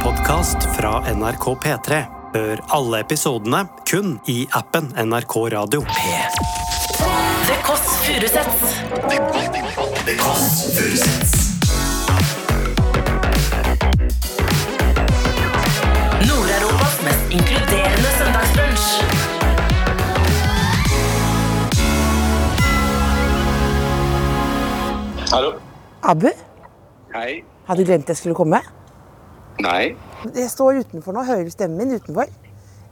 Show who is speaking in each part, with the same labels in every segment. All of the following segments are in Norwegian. Speaker 1: podkast fra NRK P3. Hør alle episodene kun i appen NRK Radio.
Speaker 2: Det Kåss Furuseths. Nord-Europas mest inkluderende søndagsbrunsch.
Speaker 3: Hallo.
Speaker 4: Abu,
Speaker 3: Hei.
Speaker 4: hadde du glemt jeg skulle komme?
Speaker 3: Nei.
Speaker 4: Jeg står utenfor nå, hører du stemmen min utenfor?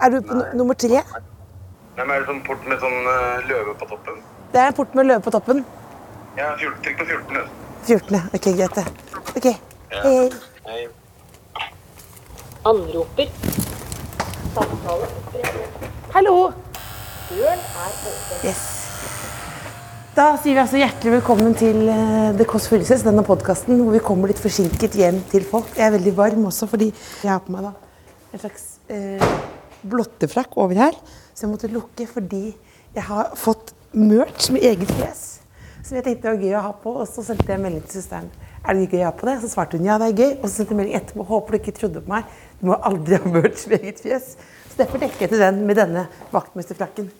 Speaker 4: Er du på n- nummer tre?
Speaker 3: Hvem er det sånn port med sånn eh, løve på toppen?
Speaker 4: Det er en port med løve på toppen.
Speaker 3: Ja, fjort, trykk på 14. du.
Speaker 4: 14. Ok, greit det. Ok, hei, hei.
Speaker 3: Hei.
Speaker 5: Anroper.
Speaker 4: Hallo! Yes. Da sier vi altså hjertelig velkommen til eh, The Kåss Furuseths, denne podkasten hvor vi kommer litt forsinket hjem til folk. Jeg er veldig varm også fordi jeg har på meg da en slags eh, blottefrakk over her. Så jeg måtte lukke fordi jeg har fått merch med eget fjes. Som jeg tenkte var gøy å ha på, og så sendte jeg melding til søsteren. Er det gøy å ha på det? Så svarte hun ja, det er gøy. Og så sendte jeg melding etterpå. Håper du ikke trodde på meg. Du må aldri ha merch med eget fjes. Så derfor dekket jeg til den med denne vaktmesterfrakken.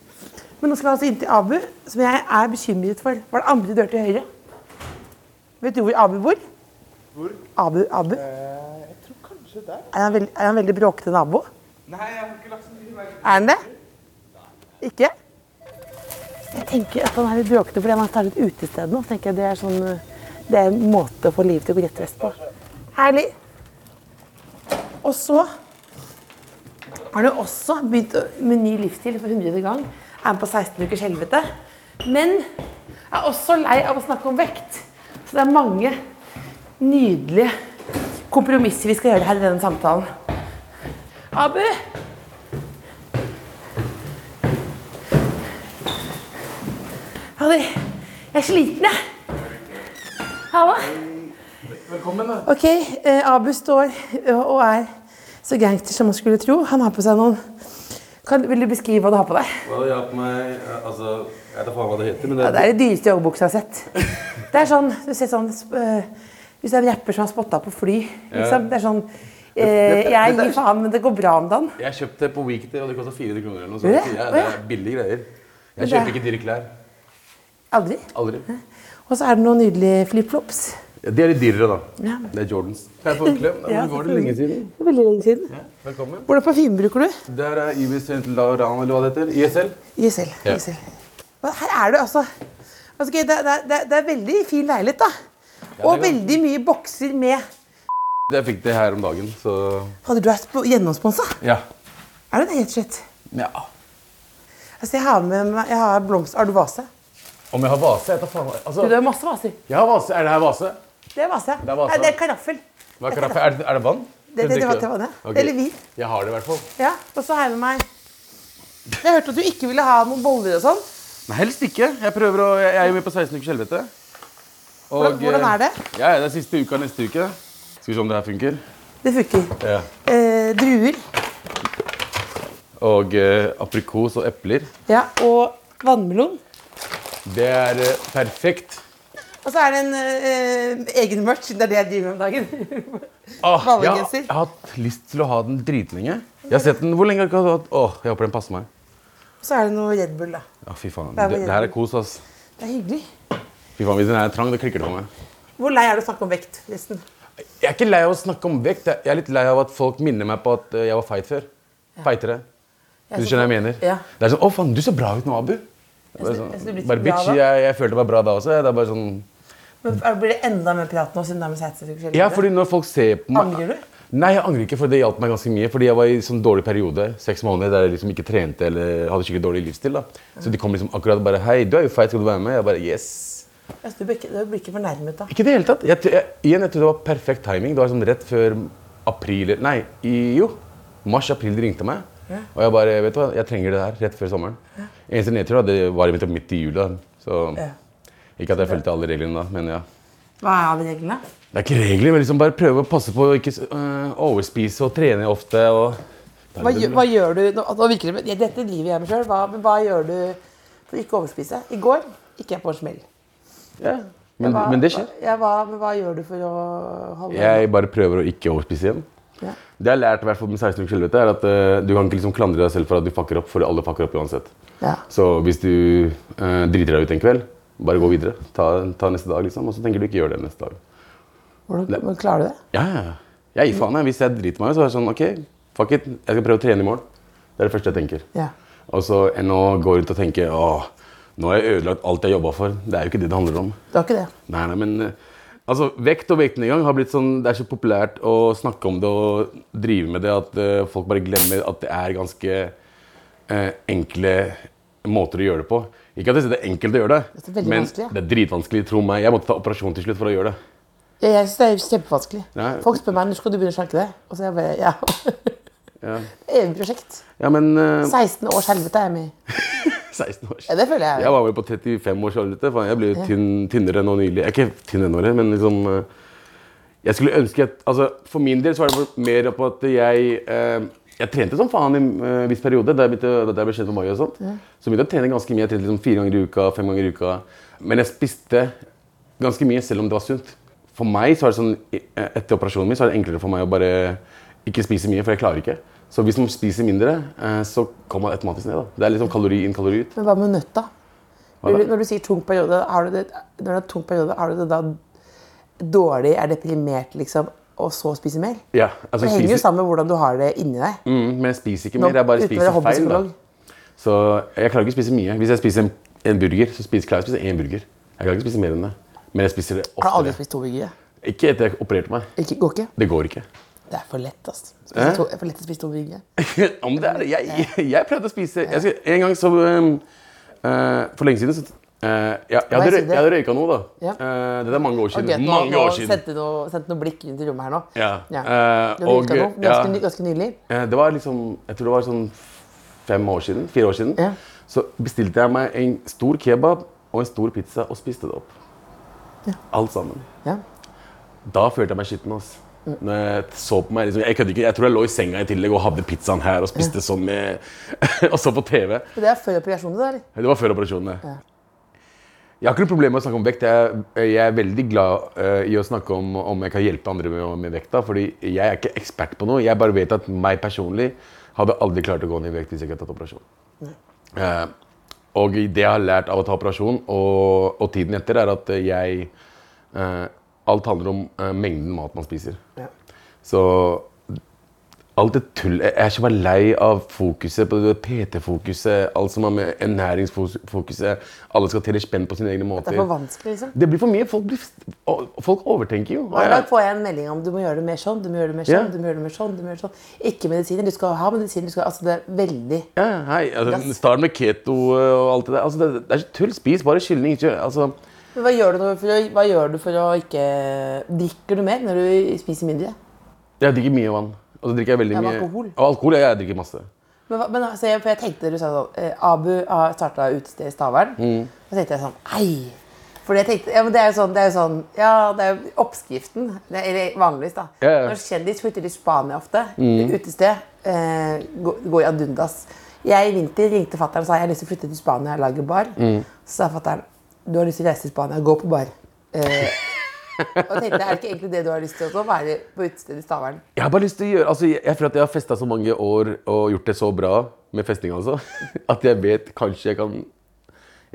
Speaker 4: Men nå skal vi altså inn til Abu, som jeg er bekymret for. Var det andre dør til høyre? Vet du hvor Abu bor? Hvor? Abu, Abu.
Speaker 6: Eh, Jeg tror kanskje der.
Speaker 4: Er han, veld, er han veldig bråkete nabo?
Speaker 6: Nei, jeg har ikke lagt så mye merke
Speaker 4: Er han det? Ikke? Jeg tenker at han er litt bråkete fordi han tar et utested nå. Så tenker jeg Det er, sånn, det er en måte å få livet til å gå rett vest på. Herlig. Og så har du også begynt å- med ny livsstil for hundrede gang. Er med på 16 ukers helvete. Men er også lei av å snakke om vekt. Så det er mange nydelige kompromisser vi skal gjøre her i denne samtalen. Abu! Fader, jeg er sliten, jeg. Hallo.
Speaker 6: Velkommen, da.
Speaker 4: Ok, eh, Abu står ø, og er så gangster som man skulle tro. Han har på seg noen kan, Vil du beskrive hva du har på deg?
Speaker 6: jeg har på meg eh, Altså, jeg vet ikke faen hva det heter, men det
Speaker 4: Ja, det er det dyreste joggebuksa jeg har sett. Det er sånn, du ser sånn eh, Hvis det er en rapper som har spotta på fly liksom. Det er sånn eh, Jeg gir faen, men det går bra om dagen.
Speaker 6: Jeg kjøpte det på Weekday, og det kosta 400 kroner eller noe
Speaker 4: Gjør
Speaker 6: sånt.
Speaker 4: det?
Speaker 6: Ja,
Speaker 4: Å,
Speaker 6: det
Speaker 4: ja.
Speaker 6: er billige greier.
Speaker 4: Men
Speaker 6: Jeg
Speaker 4: det er-
Speaker 6: kjøper ikke dyre klær.
Speaker 4: Aldri.
Speaker 6: Aldri.
Speaker 4: Og så er det noen nydelige flipflops.
Speaker 6: Ja, de er litt dyrere, da.
Speaker 4: Ja.
Speaker 6: Det er Jordans. Kan jeg få en klem?
Speaker 4: Ja,
Speaker 6: Hvor var det lenge siden?
Speaker 4: Det er Veldig lenge siden.
Speaker 6: Velkommen.
Speaker 4: Hvordan parfyme bruker du?
Speaker 6: Der er Yves Saint Laurent, eller hva det heter. ISL.
Speaker 4: Gisel.
Speaker 6: Ja.
Speaker 4: Gisel. Og Her er du altså altså, ok, det, det, det, det er veldig fin leilighet, da. Og
Speaker 6: det er
Speaker 4: veldig mye bokser med
Speaker 6: Jeg fikk det her om dagen, så
Speaker 4: Hadde du vært på- gjennomsponsa?
Speaker 6: Ja.
Speaker 4: Er du det helt shit?
Speaker 6: ja.
Speaker 4: Altså, jeg har med meg jeg har blomster. Har du vase?
Speaker 6: Om jeg har vase? Jeg tar faen Altså,
Speaker 4: Du, det er masse vaser.
Speaker 6: jeg har vase. Er det her vase?
Speaker 4: Det er vase.
Speaker 6: er vase.
Speaker 4: Nei, det er karaffel.
Speaker 6: Hva er, karaffel? er, det, er det vann?
Speaker 4: Det, det, det, var
Speaker 6: Drikker
Speaker 4: til vannet.
Speaker 6: Ok.
Speaker 4: Eller vin.
Speaker 6: Jeg har det i hvert fall.
Speaker 4: Ja. Og så har jeg med meg Jeg hørte at du ikke ville ha noen boller og sånn.
Speaker 6: Nei, helst ikke. Jeg, prøver å, jeg er jo med på 16 ukers helvete. Og,
Speaker 4: Hvordan- hvordan er det?
Speaker 6: eh, Ja, det er siste uka neste uke. Skal vi se om det her funker.
Speaker 4: Det funker.
Speaker 6: Ja.
Speaker 4: Eh, druer.
Speaker 6: Og eh, aprikos og epler.
Speaker 4: Ja, og vannmelon.
Speaker 6: Det er eh, perfekt.
Speaker 4: Og så er det en eh, egen merch. Det er det jeg driver med om dagen.
Speaker 6: Åh, jeg, har-
Speaker 4: Ballegenser.
Speaker 6: jeg har hatt lyst til å ha den dritlenge. Jeg har sett den, Hvor lenge har jeg hatt? Åh, jeg håper den passer meg.
Speaker 4: Og så er det noe Red Bull, da.
Speaker 6: Ja, fy faen.
Speaker 4: Det er
Speaker 6: Det,
Speaker 4: vel
Speaker 6: det her er kos, ass.
Speaker 4: Det er hyggelig.
Speaker 6: Fy faen, Hvis den er trang, det klikker det for meg.
Speaker 4: Hvor lei er du å snakke om vekt? Resten?
Speaker 6: Jeg er ikke lei av å snakke om vekt. Jeg er litt lei av at folk minner meg på at eh, jeg var feit før. Feitere. Du skjønner hva jeg mener?
Speaker 4: Ja.
Speaker 6: Det er sånn 'Å, faen, du ser bra ut nå, Abu'. Det er
Speaker 4: Jeg
Speaker 6: sånn,
Speaker 4: synes- jeg synes du blir
Speaker 6: bare
Speaker 4: så bra
Speaker 6: bitch,
Speaker 4: da.
Speaker 6: jeg, jeg følte meg bra da også. Det er bare sånn
Speaker 4: Men er- Blir det enda mer prat nå siden det er med 16 uker siden?
Speaker 6: Ja, fordi når folk ser på meg
Speaker 4: Angrer du?
Speaker 6: Nei, jeg angrer ikke, for det hjalp meg ganske mye. Fordi jeg var i sånn dårlig periode, seks måneder, der jeg liksom ikke trente eller hadde skikkelig dårlig livsstil. da Så de kom liksom akkurat bare 'Hei, du er jo feit, skal du være med?' Jeg bare 'Yes'.
Speaker 4: Jeg synes Altså, Du blir ikke, du blir ikke fornærmet da.
Speaker 6: Ikke i det hele tatt. Jeg, tr- jeg, igjen, jeg trodde det var perfekt timing. Det var sånn rett før april Nei, i, jo. Mars-april de ringte meg. Og jeg bare Vet du hva, jeg trenger det her rett før sommeren. Eneste nedtur da, det var midt, midt i jula. Så
Speaker 4: Ja.
Speaker 6: ikke at jeg fulgte alle reglene da, men ja.
Speaker 4: Hva er alle reglene?
Speaker 6: Det er ikke regler, men liksom bare prøve å passe på å ikke s- øh, overspise og trene ofte og
Speaker 4: Hva, gjø- hva gjør du nå, nå virker det, men- ja, Dette driver jeg med sjøl. Hva, men hva gjør du for å ikke overspise? I går gikk jeg på en smell.
Speaker 6: ja. men,
Speaker 4: Hva-
Speaker 6: men det skjer.
Speaker 4: hva- Ja, hva, men hva gjør du for å holde
Speaker 6: Jeg bare prøver å ikke overspise igjen.
Speaker 4: Ja.
Speaker 6: Det jeg har lært i hvert fall med 16 ukers helvete, er at eh, du kan ikke liksom klandre deg selv for at du fucker opp, for alle fucker opp uansett.
Speaker 4: Ja.
Speaker 6: Så hvis du eh, driter deg ut en kveld, bare gå videre. Ta, ta neste dag, liksom. Og så tenker du ikke gjør det neste dag.
Speaker 4: Hvordan, hvordan klarer du det?
Speaker 6: Ja, ja, ja. Jeg gir faen. Jeg. Hvis jeg driter meg ut, så er det sånn OK, fuck it. Jeg skal prøve å trene i morgen. Det er det første jeg tenker.
Speaker 4: Ja.
Speaker 6: Og så enn å gå rundt og tenke åh, nå har jeg ødelagt alt jeg jobba for. Det er jo ikke det det handler om.
Speaker 4: Det var ikke det.
Speaker 6: Nei, nei, men eh, altså, Vekt og vektnedgang har blitt sånn Det er så populært å snakke om det og drive med det at eh, folk bare glemmer at det er ganske eh, enkle måter å gjøre det på. Ikke at jeg sier det er enkelt å gjøre det,
Speaker 4: Det er veldig
Speaker 6: men
Speaker 4: vanskelig, ja.
Speaker 6: det er dritvanskelig. Tro meg. Jeg måtte ta operasjon til slutt for å gjøre det.
Speaker 4: Ja, jeg synes det er kjempevanskelig.
Speaker 6: Nei.
Speaker 4: Folk spør meg når skal du begynne å slanke deg. Og så jeg bare, ja.
Speaker 6: Ja,
Speaker 4: Evig prosjekt.
Speaker 6: ja men eh,
Speaker 4: 16 års helvete er jeg med i.
Speaker 6: 16 år.
Speaker 4: Ja, det føler jeg.
Speaker 6: Jeg var vel på 35 års alder. Faen, jeg ble jo tynn, tynnere nå nylig. Jeg er ikke tynn ennå, men liksom eh, Jeg skulle ønske at altså, For min del så var det mer på at jeg eh, Jeg trente som faen i en eh, viss periode, da jeg, begynte, da jeg ble kjent med Mai og sånt. Så begynte jeg å trene ganske mye. Jeg trente liksom fire ganger i uka, fem ganger i uka. Men jeg spiste ganske mye, selv om det var sunt. For meg så er det sånn eh, Etter operasjonen min så er det enklere for meg å bare ikke spise mye, for jeg klarer ikke. Så hvis man spiser mindre, eh, så kommer man automatisk ned. da. Det er liksom kalori inn, kalori ut.
Speaker 4: Men hva med nøtta?
Speaker 6: Hva da?
Speaker 4: Når du- når du sier tung periode, har du det, når det er tung periode, har du det da dårlig, er deprimert, liksom, og så spiser mer?
Speaker 6: Ja, altså
Speaker 4: Det henger jo
Speaker 6: spiser,
Speaker 4: sammen med hvordan du har det inni deg.
Speaker 6: mm, men jeg spiser ikke mer, jeg bare
Speaker 4: uten å være
Speaker 6: spiser feil. Da.
Speaker 4: hobbypsykolog.
Speaker 6: Så jeg klarer ikke å spise mye. Hvis jeg spiser en, en burger, så spiser, klarer jeg å spise én burger. Jeg klarer ikke å spise mer enn det. Men jeg spiser det
Speaker 4: Har du aldri
Speaker 6: oftere.
Speaker 4: spist to burgere?
Speaker 6: Ikke etter jeg opererte meg.
Speaker 4: Ikke, går ikke?
Speaker 6: Det går ikke.
Speaker 4: Det er for lett, altså. Det
Speaker 6: Hæ?
Speaker 4: er for lett å spise to burgere.
Speaker 6: Om det er det. Jeg, jeg prøvde å spise jeg skal, En gang så um, eh, For lenge siden så eh, jeg, jeg, hadde,
Speaker 4: jeg si
Speaker 6: røy-
Speaker 4: det?
Speaker 6: jeg hadde røyka noe, da.
Speaker 4: Ja.
Speaker 6: Eh, det er mange år siden.
Speaker 4: Ok, nå-
Speaker 6: mange
Speaker 4: nå
Speaker 6: år siden.
Speaker 4: Sendte noe, sendte noe blikk rundt i rommet her nå.
Speaker 6: Ja, eh,
Speaker 4: Du har
Speaker 6: og-
Speaker 4: røyka noe
Speaker 6: ja.
Speaker 4: ganske, ny- ganske nylig.
Speaker 6: Eh, Det var liksom, jeg tror det var sånn fem år siden, fire år siden.
Speaker 4: Ja.
Speaker 6: Så bestilte jeg meg en stor kebab og en stor pizza og spiste det opp. Alt sammen.
Speaker 4: Ja.
Speaker 6: Da følte jeg meg skitten. ass. Når jeg så på meg, liksom, jeg kødder ikke, jeg tror jeg lå i senga i tillegg og hadde pizzaen her og spiste sånn med, og så på TV.
Speaker 4: Men det er før operasjonen, da, eller?
Speaker 6: Det var før operasjonen. det. Jeg har ikke noe problem med å snakke om vekt. Jeg, jeg er veldig glad eh, i å snakke om om jeg kan hjelpe andre med, med vekta. fordi jeg er ikke ekspert på noe. Jeg bare vet at meg personlig hadde aldri klart å gå ned i vekt hvis jeg ikke hadde tatt operasjon. Eh, og det jeg har lært av å ta operasjon og, og tiden etter, er at jeg eh, Alt handler om eh, mengden mat man spiser. Så Alt det tull. Jeg er så bare lei av fokuset på det PT-fokuset, alt som har med ernæringsfokuset Alle skal telle spenn på sine egne
Speaker 4: Det
Speaker 6: måter.
Speaker 4: er for vanskelig, liksom.
Speaker 6: Det blir for mye. Folk, blir, og folk overtenker jo.
Speaker 4: Hver dag får jeg en melding om du må gjøre det mer sånn, du må gjøre det mer sånn,
Speaker 6: Ja.
Speaker 4: du må gjøre det mer sånn, du må gjøre det sånn. Ikke medisiner, du skal ha medisiner, du skal Altså, det er veldig
Speaker 6: Ja, hei, altså, Start med keto og alt det der. Altså, det, det er så tull. Spis bare kylling. Ikke, altså,
Speaker 4: Men hva gjør, du nå for å, hva gjør du for å ikke Drikker du mer når du spiser mindre?
Speaker 6: jeg drikker mye vann. Og så drikker jeg veldig
Speaker 4: Ja, men
Speaker 6: mye
Speaker 4: alkohol.
Speaker 6: Og alkohol, ja, jeg drikker masse.
Speaker 4: Men, hva- men altså, jeg, for jeg tenkte du sa sånn eh, Abu har starta utested i Stavern.
Speaker 6: Mm.
Speaker 4: Da tenkte jeg sånn Ei! For jeg tenkte, ja, men det er jo sånn, det er jo sånn Ja, det er jo oppskriften. Det er, eller vanligvis, da.
Speaker 6: Ja, Mm. ja.
Speaker 4: Når kjendis flytter til Spania ofte, utested, eh, går, går i adundas. Jeg i vinter ringte fatter'n og sa jeg har lyst til å flytte til Spania og lage bar.
Speaker 6: Mm.
Speaker 4: Så sa fatter'n du har lyst til å reise til Spania, gå på bar. Eh, og tenkte, er det ikke egentlig det du har lyst til også? Å være på utestedet i Stavern?
Speaker 6: Jeg har bare lyst til å gjøre altså, jeg, jeg føler at jeg har festa så mange år og gjort det så bra med festing, altså, at jeg vet kanskje jeg kan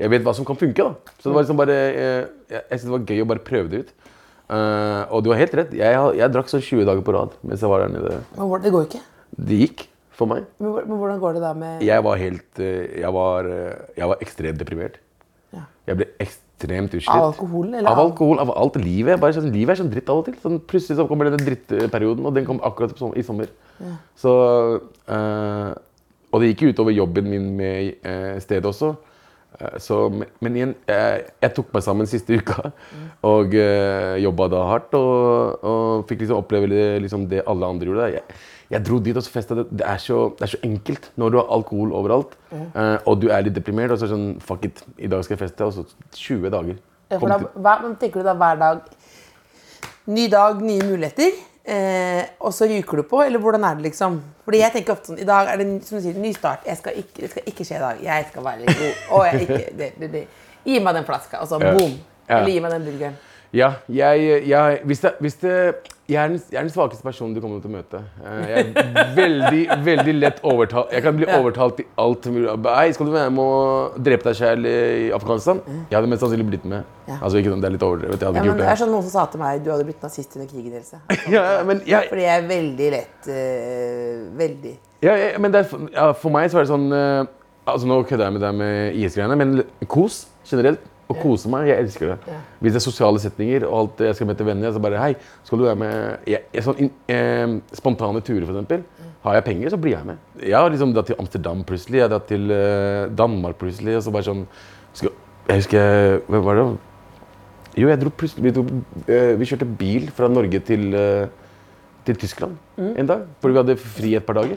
Speaker 6: Jeg vet hva som kan funke. da. Så det var liksom bare, eh, Jeg, jeg synes det var gøy å bare prøve det ut. Eh, og du har helt rett. Jeg, har- jeg drakk sånn 20 dager på rad mens jeg var der nede.
Speaker 4: Men hvor- det går ikke.
Speaker 6: Det gikk for meg.
Speaker 4: Men, hvor- men hvordan går det da med
Speaker 6: Jeg var helt eh, Jeg var, eh, jeg var ekstremt deprimert.
Speaker 4: Ja.
Speaker 6: Jeg ble ekstremt utslitt.
Speaker 4: Av alkoholen, eller
Speaker 6: Av
Speaker 4: av-
Speaker 6: alkohol, av alt livet. Bare sånn, livet er sånn dritt av og til. Sånn, plutselig så kommer denne drittperioden, og den kom akkurat som, i sommer. Så, eh, og det gikk jo utover jobben min med eh, stedet også. Eh, så, men- men igjen, eh, jeg tok meg sammen siste uka
Speaker 4: Mm.
Speaker 6: og uh, jobba da hardt. Og, og fikk liksom oppleve det, liksom det alle andre gjorde. da. Jeg, jeg dro dit og så festa. Det, det, er så, det er så enkelt når du har alkohol overalt, eh, og du er litt deprimert. Og så er det sånn Fuck it, i dag skal jeg feste. Og så 20 dager.
Speaker 4: Ja, Eh, for
Speaker 6: Kom
Speaker 4: da,
Speaker 6: til-
Speaker 4: hver, men tenker du da hver dag Ny dag, nye muligheter. Eh, og så ryker du på, eller hvordan er det liksom? Fordi jeg tenker ofte sånn, I dag er det som du sier, ny start. Jeg skal ikke, det skal ikke skje i dag. Jeg skal være litt god. Og jeg ikke, det, det, det. Gi meg den flaska, og så
Speaker 6: Ja.
Speaker 4: boom.
Speaker 6: Ja.
Speaker 4: Eller gi meg den burgeren.
Speaker 6: Ja, jeg, jeg, hvis det, hvis det, jeg, er den, jeg er den svakeste personen du kommer til å møte. Eh, Jeg er veldig veldig lett overtalt. Jeg kan bli overtalt til alt. mulig. Hei, skal du være med og drepe deg selv i Afghanistan? Jeg hadde mest sannsynlig blitt med.
Speaker 4: Mm. Ja.
Speaker 6: Altså, ikke, det er litt overdrevet. Jeg hadde
Speaker 4: Ja,
Speaker 6: ikke
Speaker 4: men
Speaker 6: gjort
Speaker 4: det er
Speaker 6: det.
Speaker 4: sånn Noen som sa til meg du hadde blitt nazist under krigen. Else.
Speaker 6: Ja, men, jeg,
Speaker 4: Fordi jeg er veldig lett eh, Veldig.
Speaker 6: ja, jeg, men det er, for- ja, for meg så er det sånn eh, altså, Nå kødder jeg med det med IS-greiene, men kos generelt. Å kose meg. Jeg elsker det. Hvis det er sosiale setninger og alt jeg skal møte venner så bare Hei, skal du være med jeg, jeg, sånn, inn- eh, Spontane turer, f.eks. Har jeg penger, så blir jeg med. Jeg har liksom dratt til Amsterdam plutselig. Jeg har dratt til eh, Danmark plutselig. Og så bare sånn skal, Jeg husker jeg- Hvem var det? Jo, jeg dro plutselig Vi, dro, eh, vi kjørte bil fra Norge til, eh, til Tyskland en dag. Fordi vi hadde fri et par dager.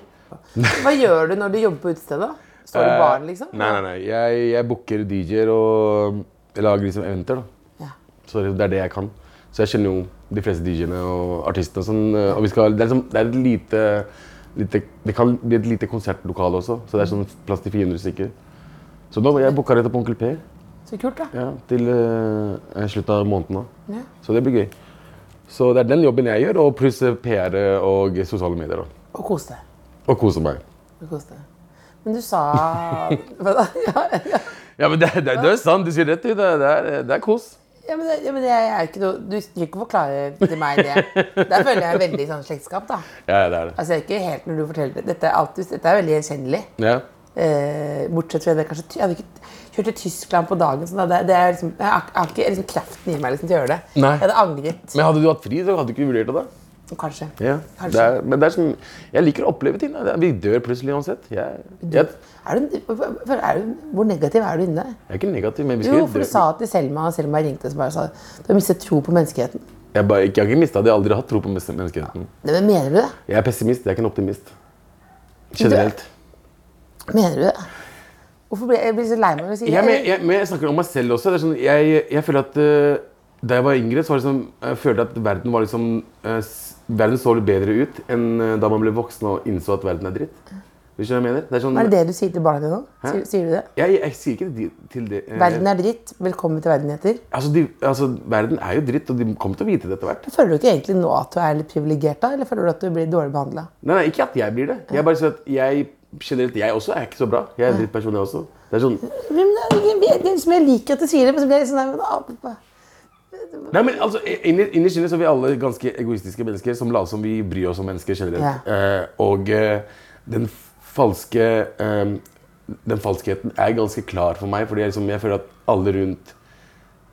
Speaker 4: Hva gjør du når du jobber på utestedet? Står du
Speaker 6: Eh,
Speaker 4: i baren, liksom?
Speaker 6: Nei, nei, nei. Jeg, jeg booker DJ-er og lager liksom eventer. da.
Speaker 4: Ja.
Speaker 6: Så det, det er det jeg kan. Så jeg kjenner jo de fleste DJ-ene og artistene. og Sånn, og vi skal, det, er liksom, det er et lite, lite Det kan bli et lite konsertlokale også, så det er sånn plass til 400 stykker. Så nå jeg booka dette på Onkel P
Speaker 4: Så kult, da.
Speaker 6: ja, til eh, slutten av måneden. da.
Speaker 4: Ja.
Speaker 6: Så det blir gøy. Så det er den jobben jeg gjør, og pluss eh, PR og sosiale medier. da.
Speaker 4: Og kos deg.
Speaker 6: Og kose meg.
Speaker 4: Og kos deg. Men du sa Hva da? Ja, ja.
Speaker 6: Ja, men det, det, det er sant. Du sier rett ut. Det, det, er- det er kos.
Speaker 4: Ja, men, det- ja, men jeg er ikke noe Du trenger ikke forklare til meg det. Der føler jeg veldig sånn slektskap, da.
Speaker 6: Ja, det er det.
Speaker 4: Altså, jeg er ikke helt når du forteller det. Dette er, alltid, dette er veldig gjenkjennelig.
Speaker 6: Ja.
Speaker 4: Eh, bortsett fra det kanskje ty- Jeg hadde ikke kjørt til Tyskland på dagen. Sånn, da. det, det er liksom, jeg har jeg har ikke liksom, kraften i meg liksom, til å gjøre det.
Speaker 6: Nei.
Speaker 4: Jeg hadde angret.
Speaker 6: Men hadde du hatt fri, så hadde du ikke vurdert det. da.
Speaker 4: Kanskje. Kanskje.
Speaker 6: Det er, men det er sånn, jeg liker å oppleve ting. da. Det er- Vi dør plutselig uansett. Jeg, jeg,
Speaker 4: Er du, for er du, hvor negativ er du inne?
Speaker 6: jeg er ikke negativ, men vi skal
Speaker 4: Jo, for du sa til Selma og Selma ringte og så bare sa du har mistet tro på menneskeheten.
Speaker 6: Jeg, bare, ikke- jeg har ikke mista det. Jeg har aldri hatt tro på mes- menneskeheten.
Speaker 4: Nei, Men mener du det?
Speaker 6: Jeg er pessimist, jeg er ikke en optimist. Generelt.
Speaker 4: Mener du det? Hvorfor blir jeg, jeg blir så lei meg når du sier
Speaker 6: Jeg, men,
Speaker 4: det?
Speaker 6: jeg, men jeg snakker om meg selv også. Det er sånn, jeg, jeg føler at eh, Da jeg var yngre, så var det sånn, jeg følte jeg at verden var liksom eh, s- Verden så litt bedre ut enn eh, da man ble voksen og innså at verden er dritt. Vet du hva jeg mener? Det er sånn,
Speaker 4: Er det det du sier til barna dine nå? Sier,
Speaker 6: Hæ?
Speaker 4: sier du det?
Speaker 6: Jeg, jeg, jeg sier ikke de- til det eh,
Speaker 4: Verden er dritt. Velkommen til verden, heter.
Speaker 6: Altså, de, altså, verden er jo dritt, og de kommer til å vite det etter hvert.
Speaker 4: Føler du ikke egentlig nå at du er litt privilegert, da? Eller føler du at du blir dårlig behandla?
Speaker 6: Nei, nei, ikke at jeg blir det. Jeg bare sier at jeg generelt, jeg også er ikke så bra. Jeg er en drittperson, jeg også. Det er sånn,
Speaker 4: Men det er ikke- det er liksom, jeg liker at du sier det, men så blir jeg litt sånn der, men, ah,
Speaker 6: nei, men altså, inni- Innerst inne så er vi alle ganske egoistiske mennesker som later som vi bryr oss om mennesker generelt.
Speaker 4: Ja.
Speaker 6: Eh, og eh, den falske eh, Den falskheten er ganske klar for meg, fordi jeg, liksom, jeg føler at alle rundt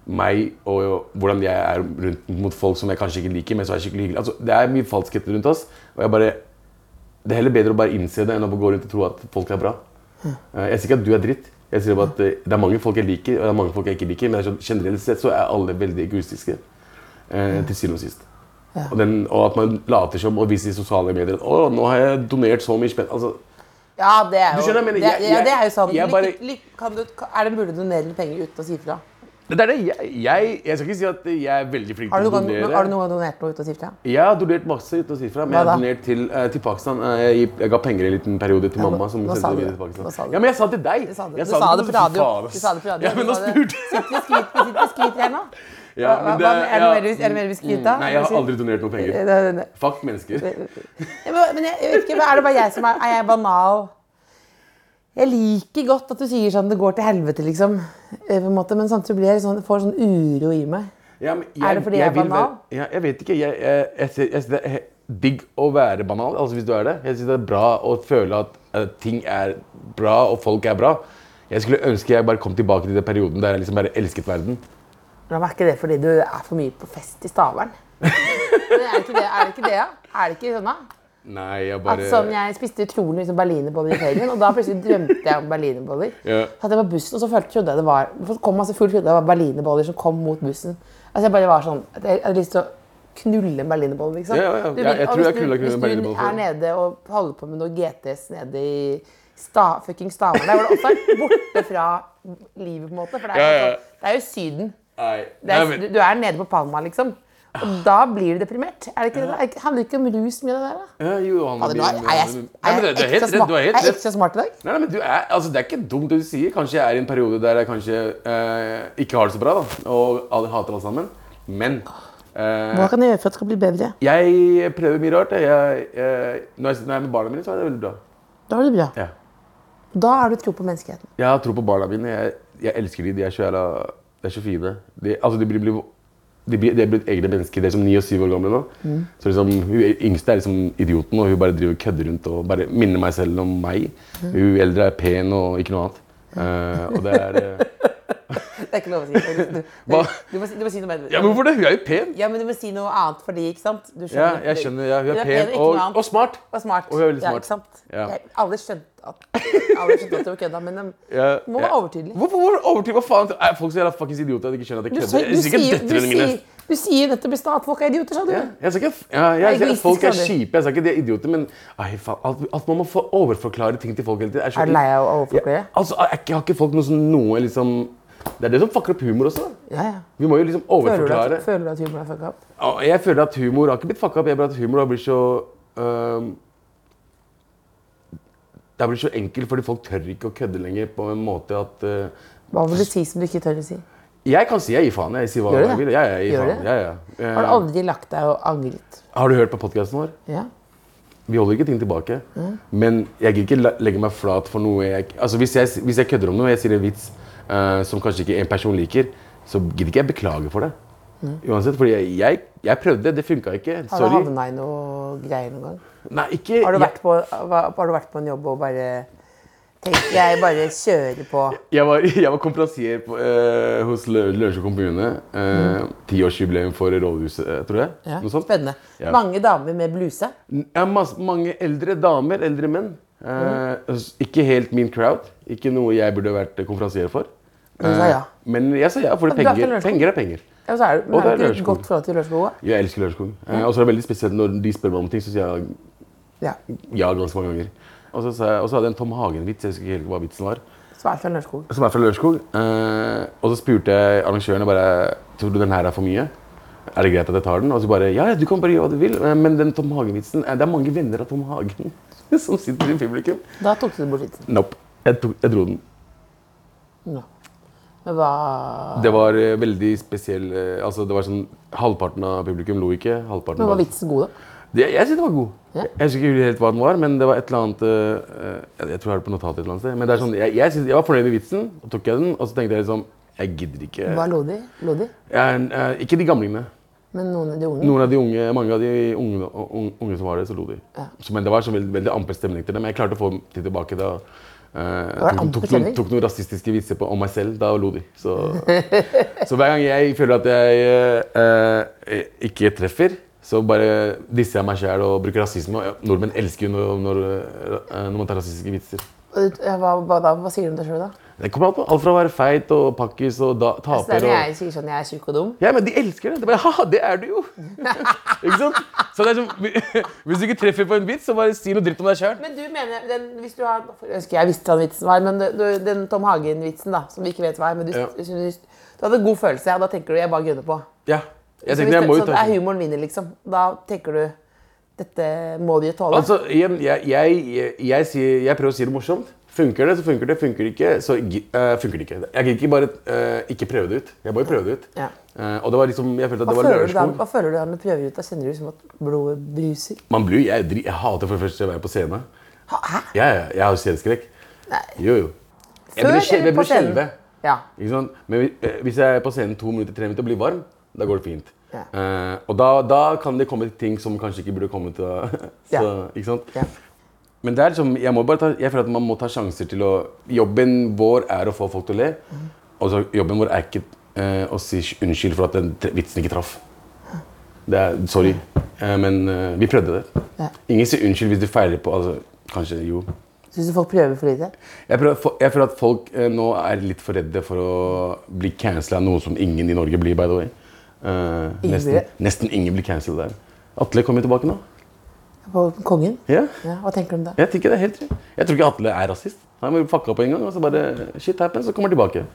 Speaker 6: meg og og hvordan jeg er rundt mot folk som jeg kanskje ikke liker, men som er skikkelig hyggelige. Altså, det er mye falskhet rundt oss, og jeg bare Det er heller bedre å bare innse det enn å gå rundt og tro at folk er bra.
Speaker 4: Hm.
Speaker 6: Eh, Jeg sier ikke at du er dritt. Jeg sier bare at eh, det er mange folk jeg liker, og det er mange folk jeg ikke liker, men det er sånn, generelt sett så er alle veldig egoistiske.
Speaker 4: Hm.
Speaker 6: eh, Til syvende og sist. Og, den, og at man later som og viser i sosiale medier at 'Å, nå har jeg donert så mye spenn'. Altså,
Speaker 4: Ja, det er jo,
Speaker 6: Du skjønner, men
Speaker 4: det,
Speaker 6: jeg-
Speaker 4: ja, det er jo
Speaker 6: jeg-
Speaker 4: sånn.
Speaker 6: jeg
Speaker 4: Lykke-
Speaker 6: bare-
Speaker 4: lykke- kan du, kan- er det mulig å donere litt penger uten å si ifra?
Speaker 6: det er det. Jeg, jeg, jeg skal ikke si at jeg er veldig flink
Speaker 4: Har du,
Speaker 6: til å
Speaker 4: noen,
Speaker 6: donere.
Speaker 4: gang- har du noen gang donert noe uten å si ifra?
Speaker 6: Jeg har donert masse uten å si fra, men
Speaker 4: Hva
Speaker 6: jeg
Speaker 4: da?
Speaker 6: har donert til, eh, til Pakistan. Eh, Jeg, gi- jeg ga penger en liten periode til
Speaker 4: Ja,
Speaker 6: mamma.
Speaker 4: nå-
Speaker 6: som
Speaker 4: nå
Speaker 6: sendte
Speaker 4: sa
Speaker 6: det
Speaker 4: du
Speaker 6: videre
Speaker 4: det.
Speaker 6: til Pakistan.
Speaker 4: Nå sa du
Speaker 6: Ja,
Speaker 4: det.
Speaker 6: men jeg sa det til deg!
Speaker 4: Du sa det,
Speaker 6: Jeg
Speaker 4: du sa det på
Speaker 6: Fy
Speaker 4: radio.
Speaker 6: faen,
Speaker 4: Du
Speaker 6: ass.
Speaker 4: sa det på radio.
Speaker 6: Ja, men nå
Speaker 4: Du sa det.
Speaker 6: spurte
Speaker 4: Sitter vi og skryter- sitter vi og skryter her nå?
Speaker 6: Ja,
Speaker 4: Hva-
Speaker 6: men
Speaker 4: hva-
Speaker 6: det-
Speaker 4: hva- er det
Speaker 6: ja. Mm.
Speaker 4: noe mer du- er det mer du vil skryte av?
Speaker 6: Nei, jeg har
Speaker 4: Eller-
Speaker 6: aldri donert noen
Speaker 4: Eh,
Speaker 6: penger.
Speaker 4: det- det-
Speaker 6: Fuck mennesker.
Speaker 4: Ja, Men men jeg, jeg vet ikke, er det bare jeg som er, er jeg banal? Jeg liker godt at du sier sånn det går til helvete, liksom. eh, På en måte, men samtidig blir jeg litt sånn, får sånn uro i meg.
Speaker 6: Ja, men
Speaker 4: Er det fordi jeg er
Speaker 6: vil være-
Speaker 4: banal?
Speaker 6: Ja, jeg vet ikke. Jeg, jeg, jeg, ser- jeg, synes det er he- digg å være banal, altså hvis du er det. Jeg synes det er bra å føle at eh, ting er bra, og folk er bra. Jeg skulle ønske jeg bare kom tilbake til den perioden der jeg liksom bare elsket verden.
Speaker 4: Men er ikke det fordi du er for mye på fest i Stavern? Men er det ikke det, er det, ikke det, ja? Er det ikke sånn, da?
Speaker 6: Nei, jeg
Speaker 4: At
Speaker 6: bare
Speaker 4: sånn, Jeg spiste utrolig liksom, berlinerboller i ferien, og da plutselig drømte jeg om berlinerboller.
Speaker 6: Ja.
Speaker 4: Så hadde jeg på bussen, og så følte, trodde jeg det var så kom masse full, trodde jeg det var berlinerboller som kom mot bussen. Altså Jeg bare var sånn, at jeg hadde lyst til å knulle en berlinerbolle. liksom.
Speaker 6: Ja, ja, ja.
Speaker 4: Du
Speaker 6: Ja, jeg
Speaker 4: og
Speaker 6: tror
Speaker 4: hvis
Speaker 6: jeg
Speaker 4: du-
Speaker 6: knulla- knulla en berlinerbolle
Speaker 4: Hvis du
Speaker 6: før.
Speaker 4: er nede og holder på med noe GTS nede i sta, fucking Stavern, der hvor det også er borte fra livet, på en måte. For det er,
Speaker 6: Ja,
Speaker 4: jo
Speaker 6: ja.
Speaker 4: sånn- det er jo Syden.
Speaker 6: Nei.
Speaker 4: Det
Speaker 6: Nei,
Speaker 4: er,
Speaker 6: men,
Speaker 4: du er nede på Palma, liksom. Og da blir du deprimert. Er det ikke det? Er det ikke- Handler det ikke om rus mye, av det der? da?
Speaker 6: ja, Johanna,
Speaker 4: Fader, nå er- er jeg,
Speaker 6: Nei,
Speaker 4: er
Speaker 6: men
Speaker 4: jeg
Speaker 6: det- det er helt
Speaker 4: ekstra
Speaker 6: rett,
Speaker 4: smart-
Speaker 6: du er
Speaker 4: er
Speaker 6: helt
Speaker 4: jeg
Speaker 6: rett.
Speaker 4: ekstra smart i dag?
Speaker 6: Nei, nei, men du er, altså, Det er ikke dumt det du sier. Kanskje jeg er i en periode der jeg kanskje eh, ikke har det så bra. da, Og alle hater alle sammen. Men eh,
Speaker 4: Hva kan jeg gjøre for at det skal bli bedre?
Speaker 6: jeg prøver mye rart. jeg. Jeg, jeg, når jeg når jeg er med barna mine, så er det veldig bra.
Speaker 4: Da har du det bra.
Speaker 6: Ja.
Speaker 4: Da har du tro på menneskeheten.
Speaker 6: Jeg har tro på barna mine. Jeg, jeg elsker de. De er så jævla De er så fine. De, altså, de blir, blir de blir, de er blitt egne mennesker. De er som ni og syv år gamle nå. Så liksom, Hun yngste er liksom idioten, og hun bare driver og kødder rundt og bare minner meg selv om meg. Hun eldre er pen og ikke noe annet. Eh, og det er eh,
Speaker 4: Det er ikke lov å si. Du, du, du,
Speaker 6: Hva?
Speaker 4: må, si- du må si noe mer.
Speaker 6: Ja, men hvorfor det? Hun er jo pen!
Speaker 4: Ja, men du må si noe annet for de, ikke sant? Du
Speaker 6: Ja, jeg skjønner. Ja, hun er pen
Speaker 4: ikke noe
Speaker 6: og,
Speaker 4: annet.
Speaker 6: og smart.
Speaker 4: Og smart.
Speaker 6: Og hun er veldig
Speaker 4: Ja,
Speaker 6: smart.
Speaker 4: ikke sant?
Speaker 6: Ja.
Speaker 4: Jeg, alle skjønte at alle skjønte at det var kødda, men um, de
Speaker 6: Ja,
Speaker 4: må
Speaker 6: ja.
Speaker 4: være overtydelig.
Speaker 6: Hvorfor hvor overtydelig? Hva faen? Er folk så jævla fuckings idioter at de ikke skjønner at jeg
Speaker 4: Du,
Speaker 6: kødder?
Speaker 4: sa-
Speaker 6: Jeg
Speaker 4: du,
Speaker 6: sier ikke
Speaker 4: sier, du,
Speaker 6: døtrene mine.
Speaker 4: sier, du sier nettopp i stad at folk er idioter, sa du.
Speaker 6: Ja, jeg sa ikke at- ja, jeg, jeg,
Speaker 4: egoistisk,
Speaker 6: folk er
Speaker 4: sa du.
Speaker 6: kjipe, jeg sa ikke de er idioter, men ai, faen, at, at man må få overforklare ting til folk hele tiden. så-
Speaker 4: Er du lei av å overforklare?
Speaker 6: Ja, altså, er ikke- Har ikke folk noe, sånn- noe liksom Det er det som fucker opp humor også.
Speaker 4: Ja, ja.
Speaker 6: Vi må jo liksom
Speaker 4: Føler du, at,
Speaker 6: overforklare.
Speaker 4: føler du at humoren er fucka opp?
Speaker 6: Ja, Jeg føler at humor har ikke blitt fucka opp, jeg bare at humor har blitt så øhm, Det har blitt så enkelt fordi folk tør ikke å kødde lenger på en måte at øh,
Speaker 4: Hva vil du si som du ikke tør å si?
Speaker 6: Jeg kan si jeg gir faen. Jeg sier hva
Speaker 4: Gjør du
Speaker 6: jeg
Speaker 4: det?
Speaker 6: vil. Jeg, jeg gir
Speaker 4: Gjør du
Speaker 6: faen.
Speaker 4: det?
Speaker 6: Ja, ja. Eh,
Speaker 4: Har du aldri lagt deg og angret?
Speaker 6: har du hørt på podkasten vår?
Speaker 4: Ja.
Speaker 6: Vi holder ikke ting tilbake. Men jeg gidder ikke la- legge meg flat for noe jeg Altså Hvis jeg, hvis jeg kødder om noe og jeg sier en vits eh, som kanskje ikke en person liker, så gidder ikke jeg beklage for det. Uansett, fordi jeg, jeg, jeg prøvde, det funka ikke.
Speaker 4: Har du
Speaker 6: Sorry.
Speaker 4: havna i noe greier noen gang?
Speaker 6: Nei, ikke
Speaker 4: Har du,
Speaker 6: jeg,
Speaker 4: vært på, hva- har du vært på en jobb og bare tenkt jeg bare kjører på?
Speaker 6: jeg var, jeg var konferansier på, eh, hos Lø- Lørenskog kommune. eh, Tiårsjubileum for Rådhuset, eh, tror jeg.
Speaker 4: Mm. Ja.
Speaker 6: Noe sånt.
Speaker 4: Spennende.
Speaker 6: Ja.
Speaker 4: Mange damer med bluse.
Speaker 6: Ja, mas- mange eldre damer, eldre menn. Eh,
Speaker 4: Mm.
Speaker 6: s- Ikke helt min crowd. Ikke noe jeg burde vært eh, konferansier for.
Speaker 4: Men du sa
Speaker 6: Eh,
Speaker 4: ja.
Speaker 6: Men jeg sa ja,
Speaker 4: Og
Speaker 6: fordi
Speaker 4: du er fra
Speaker 6: penger,
Speaker 4: Lørenskog?
Speaker 6: penger er penger.
Speaker 4: Ja, så er det, men
Speaker 6: Og det
Speaker 4: er
Speaker 6: er
Speaker 4: det ikke et
Speaker 6: Lørenskog.
Speaker 4: godt forhold til Lørenskog?
Speaker 6: Jeg elsker Lørenskogen. Eh, Og så er det veldig spesielt når de spør meg om ting, så sier jeg
Speaker 4: Ja.
Speaker 6: ja ganske mange ganger. Og så, sa jeg, og så hadde jeg en Tom Hagen-vits, jeg husker ikke helt hva vitsen var,
Speaker 4: Så er det fra Lørenskog.
Speaker 6: som er fra Lørenskog. Eh, og så spurte jeg arrangørene bare Tror du den her er for mye? Er det greit at jeg tar den? Og så bare Ja, ja, du kan bare gjøre hva du vil, eh, men den Tom Hagen-vitsen eh, Det er mange venner av Tom Hagen som sitter i publikum.
Speaker 4: Da tok du det bort vitsen.
Speaker 6: Nope. Jeg, tok, jeg dro den.
Speaker 4: Men hva
Speaker 6: Det var eh, veldig spesiell eh, altså det var sånn, Halvparten av publikum lo ikke. halvparten
Speaker 4: men var vitsen god, da?
Speaker 6: Det, jeg synes den var god.
Speaker 4: Ja.
Speaker 6: Jeg husker ikke helt hva den var, men det var et eller annet eh, eh, Jeg tror jeg har det på notatet et eller annet sted. Men det er sånn, jeg, jeg, synes, jeg var fornøyd med vitsen, og tok jeg den, og så tenkte jeg liksom Jeg gidder ikke.
Speaker 4: Hva lo de? Lo de?
Speaker 6: Jeg, eh, ikke de gamlingene.
Speaker 4: Men noen av de unge?
Speaker 6: Noen av de unge, Mange av de unge, unge, unge som var der, så lo de.
Speaker 4: Ja.
Speaker 6: Så, men det var så veldig, veldig amper stemning til det. Men jeg klarte å få dem til tilbake da. eh,
Speaker 4: Var det amper
Speaker 6: tok, tok, noen,
Speaker 4: stemning?
Speaker 6: tok noen rasistiske vitser på, om meg selv. Da lo de. Så, så hver gang jeg føler at jeg eh, eh, ikke treffer, så bare disser jeg meg sjæl og bruker rasisme. Og, ja, nordmenn elsker jo når, når, eh, når man tar rasistiske vitser.
Speaker 4: Og du- ja, Hva, hva, da? hva sier du om deg sjøl, da?
Speaker 6: Det kommer an på alt fra å være feit og pakkis og da,
Speaker 4: Så Altså, det er
Speaker 6: taper
Speaker 4: når
Speaker 6: og
Speaker 4: jeg sier sånn jeg er tjukk og dum.
Speaker 6: Ja, men de elsker det. Det er bare, Haha, det er du jo! ikke sant? Så det er som, Hvis du ikke treffer på en bit, så bare si noe dritt om deg sjøl.
Speaker 4: Men du mener den, hvis du har, Jeg husker jeg visste hva den vitsen var, men du- du- den Tom Hagen-vitsen, da, som vi ikke vet hva er men du,
Speaker 6: Ja.
Speaker 4: du, du, du hadde god følelse, og da tenker du jeg bare grunner på.
Speaker 6: Ja. Jeg
Speaker 4: Så,
Speaker 6: tenkte, jeg må
Speaker 4: det,
Speaker 6: jo
Speaker 4: så det
Speaker 6: ta
Speaker 4: er humoren vinner, liksom. Da tenker du dette må du jo tåle.
Speaker 6: Altså, igjen, jeg, jeg, jeg, jeg, sier, jeg prøver å si det morsomt. Funker det, så funker det. Funker det ikke, så gi- eh, funker det ikke. Jeg kan ikke bare eh, ikke prøve det ut. Jeg må jo prøve det ut.
Speaker 4: Ja.
Speaker 6: Eh, og det var liksom, jeg følte at
Speaker 4: hva,
Speaker 6: det var
Speaker 4: føler du da, hva
Speaker 6: Lørenskog.
Speaker 4: føler du da når du prøver ut? Da kjenner du som at blodet bruser?
Speaker 6: Man blir, jo- jeg, dri- jeg hater for det første å være på scenen.
Speaker 4: Hæ?
Speaker 6: Ja, ja, jeg har jo sceneskrekk.
Speaker 4: Nei.
Speaker 6: Jo, jo. Jeg
Speaker 4: Før
Speaker 6: blir, skje-
Speaker 4: eller
Speaker 6: jeg
Speaker 4: på
Speaker 6: blir
Speaker 4: scenen?
Speaker 6: skjelve.
Speaker 4: Ja.
Speaker 6: Ikke sant? Men hvis- eh, hvis jeg er på scenen to minutter, tre minutter og blir varm, da går det fint.
Speaker 4: Ja.
Speaker 6: Eh, og da, da kan det komme ting som kanskje ikke burde kommet. da.
Speaker 4: Ja.
Speaker 6: Så, ikke sant?
Speaker 4: Ja.
Speaker 6: Men det er liksom, jeg, må bare ta, jeg føler at man må ta sjanser til å Jobben vår er å få folk til å le.
Speaker 4: Mhm.
Speaker 6: Og så jobben vår er ikke eh, å si sk- unnskyld for at den tre- vitsen ikke traff. Det er, sorry, Eh, men eh, vi prøvde det.
Speaker 4: Ja.
Speaker 6: Ingen sier unnskyld hvis du feiler på altså, Kanskje, jo.
Speaker 4: Syns du folk prøver for lite?
Speaker 6: Jeg, prøver, fo- jeg føler at folk eh, nå er litt for redde for å bli cancela av noe som ingen i Norge blir, by the way. Eh,
Speaker 4: Ingen
Speaker 6: nesten,
Speaker 4: blir det?
Speaker 6: nesten ingen blir cancelled der. Atle kommer jo tilbake nå.
Speaker 4: På Kongen?
Speaker 6: Ja.
Speaker 4: Ja, hva tenker du om det?
Speaker 6: Jeg tenker det er helt rett. Jeg tror ikke Atle er rasist. Han bare fucka på en gang, og så bare shit happens, så kommer han tilbake.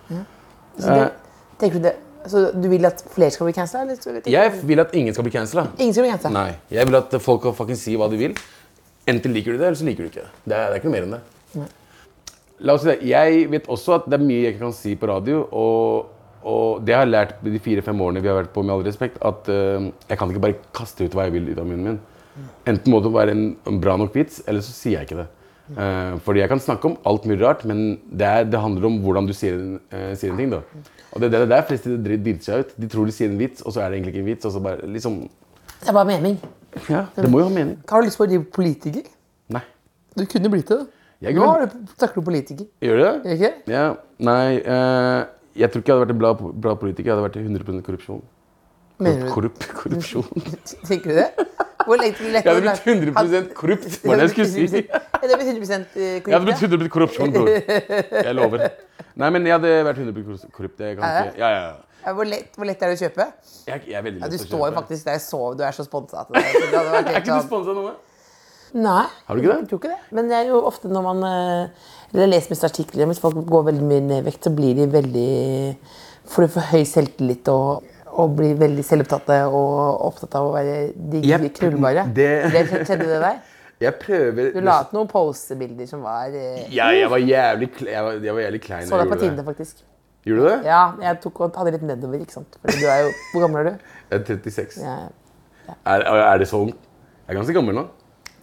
Speaker 4: Så, det, tenker du det? så du vil at flere skal bli cancela? eller så-
Speaker 6: Eh, Jeg vil at ingen skal bli cancela.
Speaker 4: Ingen skal bli cancela?
Speaker 6: Nei. Jeg vil at folk kan fucking si hva de vil. Enten liker du det, eller så liker du ikke det. Det er, det er ikke noe mer enn det. La oss si det. Jeg vet også at det er mye jeg ikke kan si på radio, og Og det jeg har lært de fire-fem årene vi har vært på, med all respekt, at eh, jeg kan ikke bare kaste ut hva jeg vil ut av munnen min. Enten må det være en, en bra nok vits, eller så sier jeg ikke det. Eh, fordi jeg kan snakke om alt mulig rart, men det, er, det handler om hvordan du sier en, eh, sier en ting. da. Og det er det det der fleste dri- driter seg ut. De tror de sier en vits, og så er det egentlig ikke en vits. og så bare liksom...
Speaker 4: Det er bare mening.
Speaker 6: Ja, Det må jo ha mening.
Speaker 4: Har du lyst på å bli politiker?
Speaker 6: Nei.
Speaker 4: Du kunne blitt det. da.
Speaker 6: Jeg
Speaker 4: Nå
Speaker 6: kunne-
Speaker 4: er du, snakker du politiker.
Speaker 6: Gjør du det?
Speaker 4: Ikke?
Speaker 6: Ja, nei, eh, jeg tror ikke jeg hadde vært en bra, bra politiker. Jeg hadde vært 100 korrupsjon.
Speaker 4: Mener du,
Speaker 6: Korrup, korrupsjon.
Speaker 4: tenker du det? Hvor lenge til
Speaker 6: Jeg hadde blitt 100 korrupt, var det jeg skulle si.
Speaker 4: Jeg hadde blitt 100 korrupt.
Speaker 6: Jeg hadde blitt 100 korrupsjon, bror. Jeg lover. Nei, men jeg hadde vært 100 korrupt. korrupt, Jeg kan
Speaker 4: Er
Speaker 6: ikke.
Speaker 4: det?
Speaker 6: Ja, ja, ja.
Speaker 4: Ja, Hvor lett, hvor lett er det å kjøpe?
Speaker 6: Jeg, jeg er veldig
Speaker 4: Ja, du
Speaker 6: lett å kjøpe.
Speaker 4: står faktisk der jeg sov. Du er så sponsa. at det- det hadde vært
Speaker 6: Er
Speaker 4: helt
Speaker 6: ikke du
Speaker 4: sånn-
Speaker 6: sponsa noe?
Speaker 4: Nei.
Speaker 6: Har du ikke det?
Speaker 4: Jeg tror ikke det. Men det er jo ofte når man eh, eller jeg leser mye artikler om hvis folk går veldig mye ned i vekt, så blir de veldig Får de for høy selvtillit og, og blir veldig selvopptatte og opptatt av å være digg
Speaker 6: Jepp,
Speaker 4: krullbare.
Speaker 6: det-
Speaker 4: skjedde det der?
Speaker 6: Jeg prøver
Speaker 4: Du la ut noen posebilder som var eh,
Speaker 6: Ja, jeg var jævlig, kle- jeg var, jeg var jævlig klein.
Speaker 4: Så
Speaker 6: da
Speaker 4: deg på
Speaker 6: jeg gjorde
Speaker 4: Tinder, faktisk.
Speaker 6: det. Gjorde du det?
Speaker 4: Ja, jeg tok og hadde litt nedover, ikke sant. Fordi du er jo Hvor gammel er du?
Speaker 6: Jeg er 36.
Speaker 4: Jeg er
Speaker 6: Er, er det så ung? Jeg er ganske gammel nå.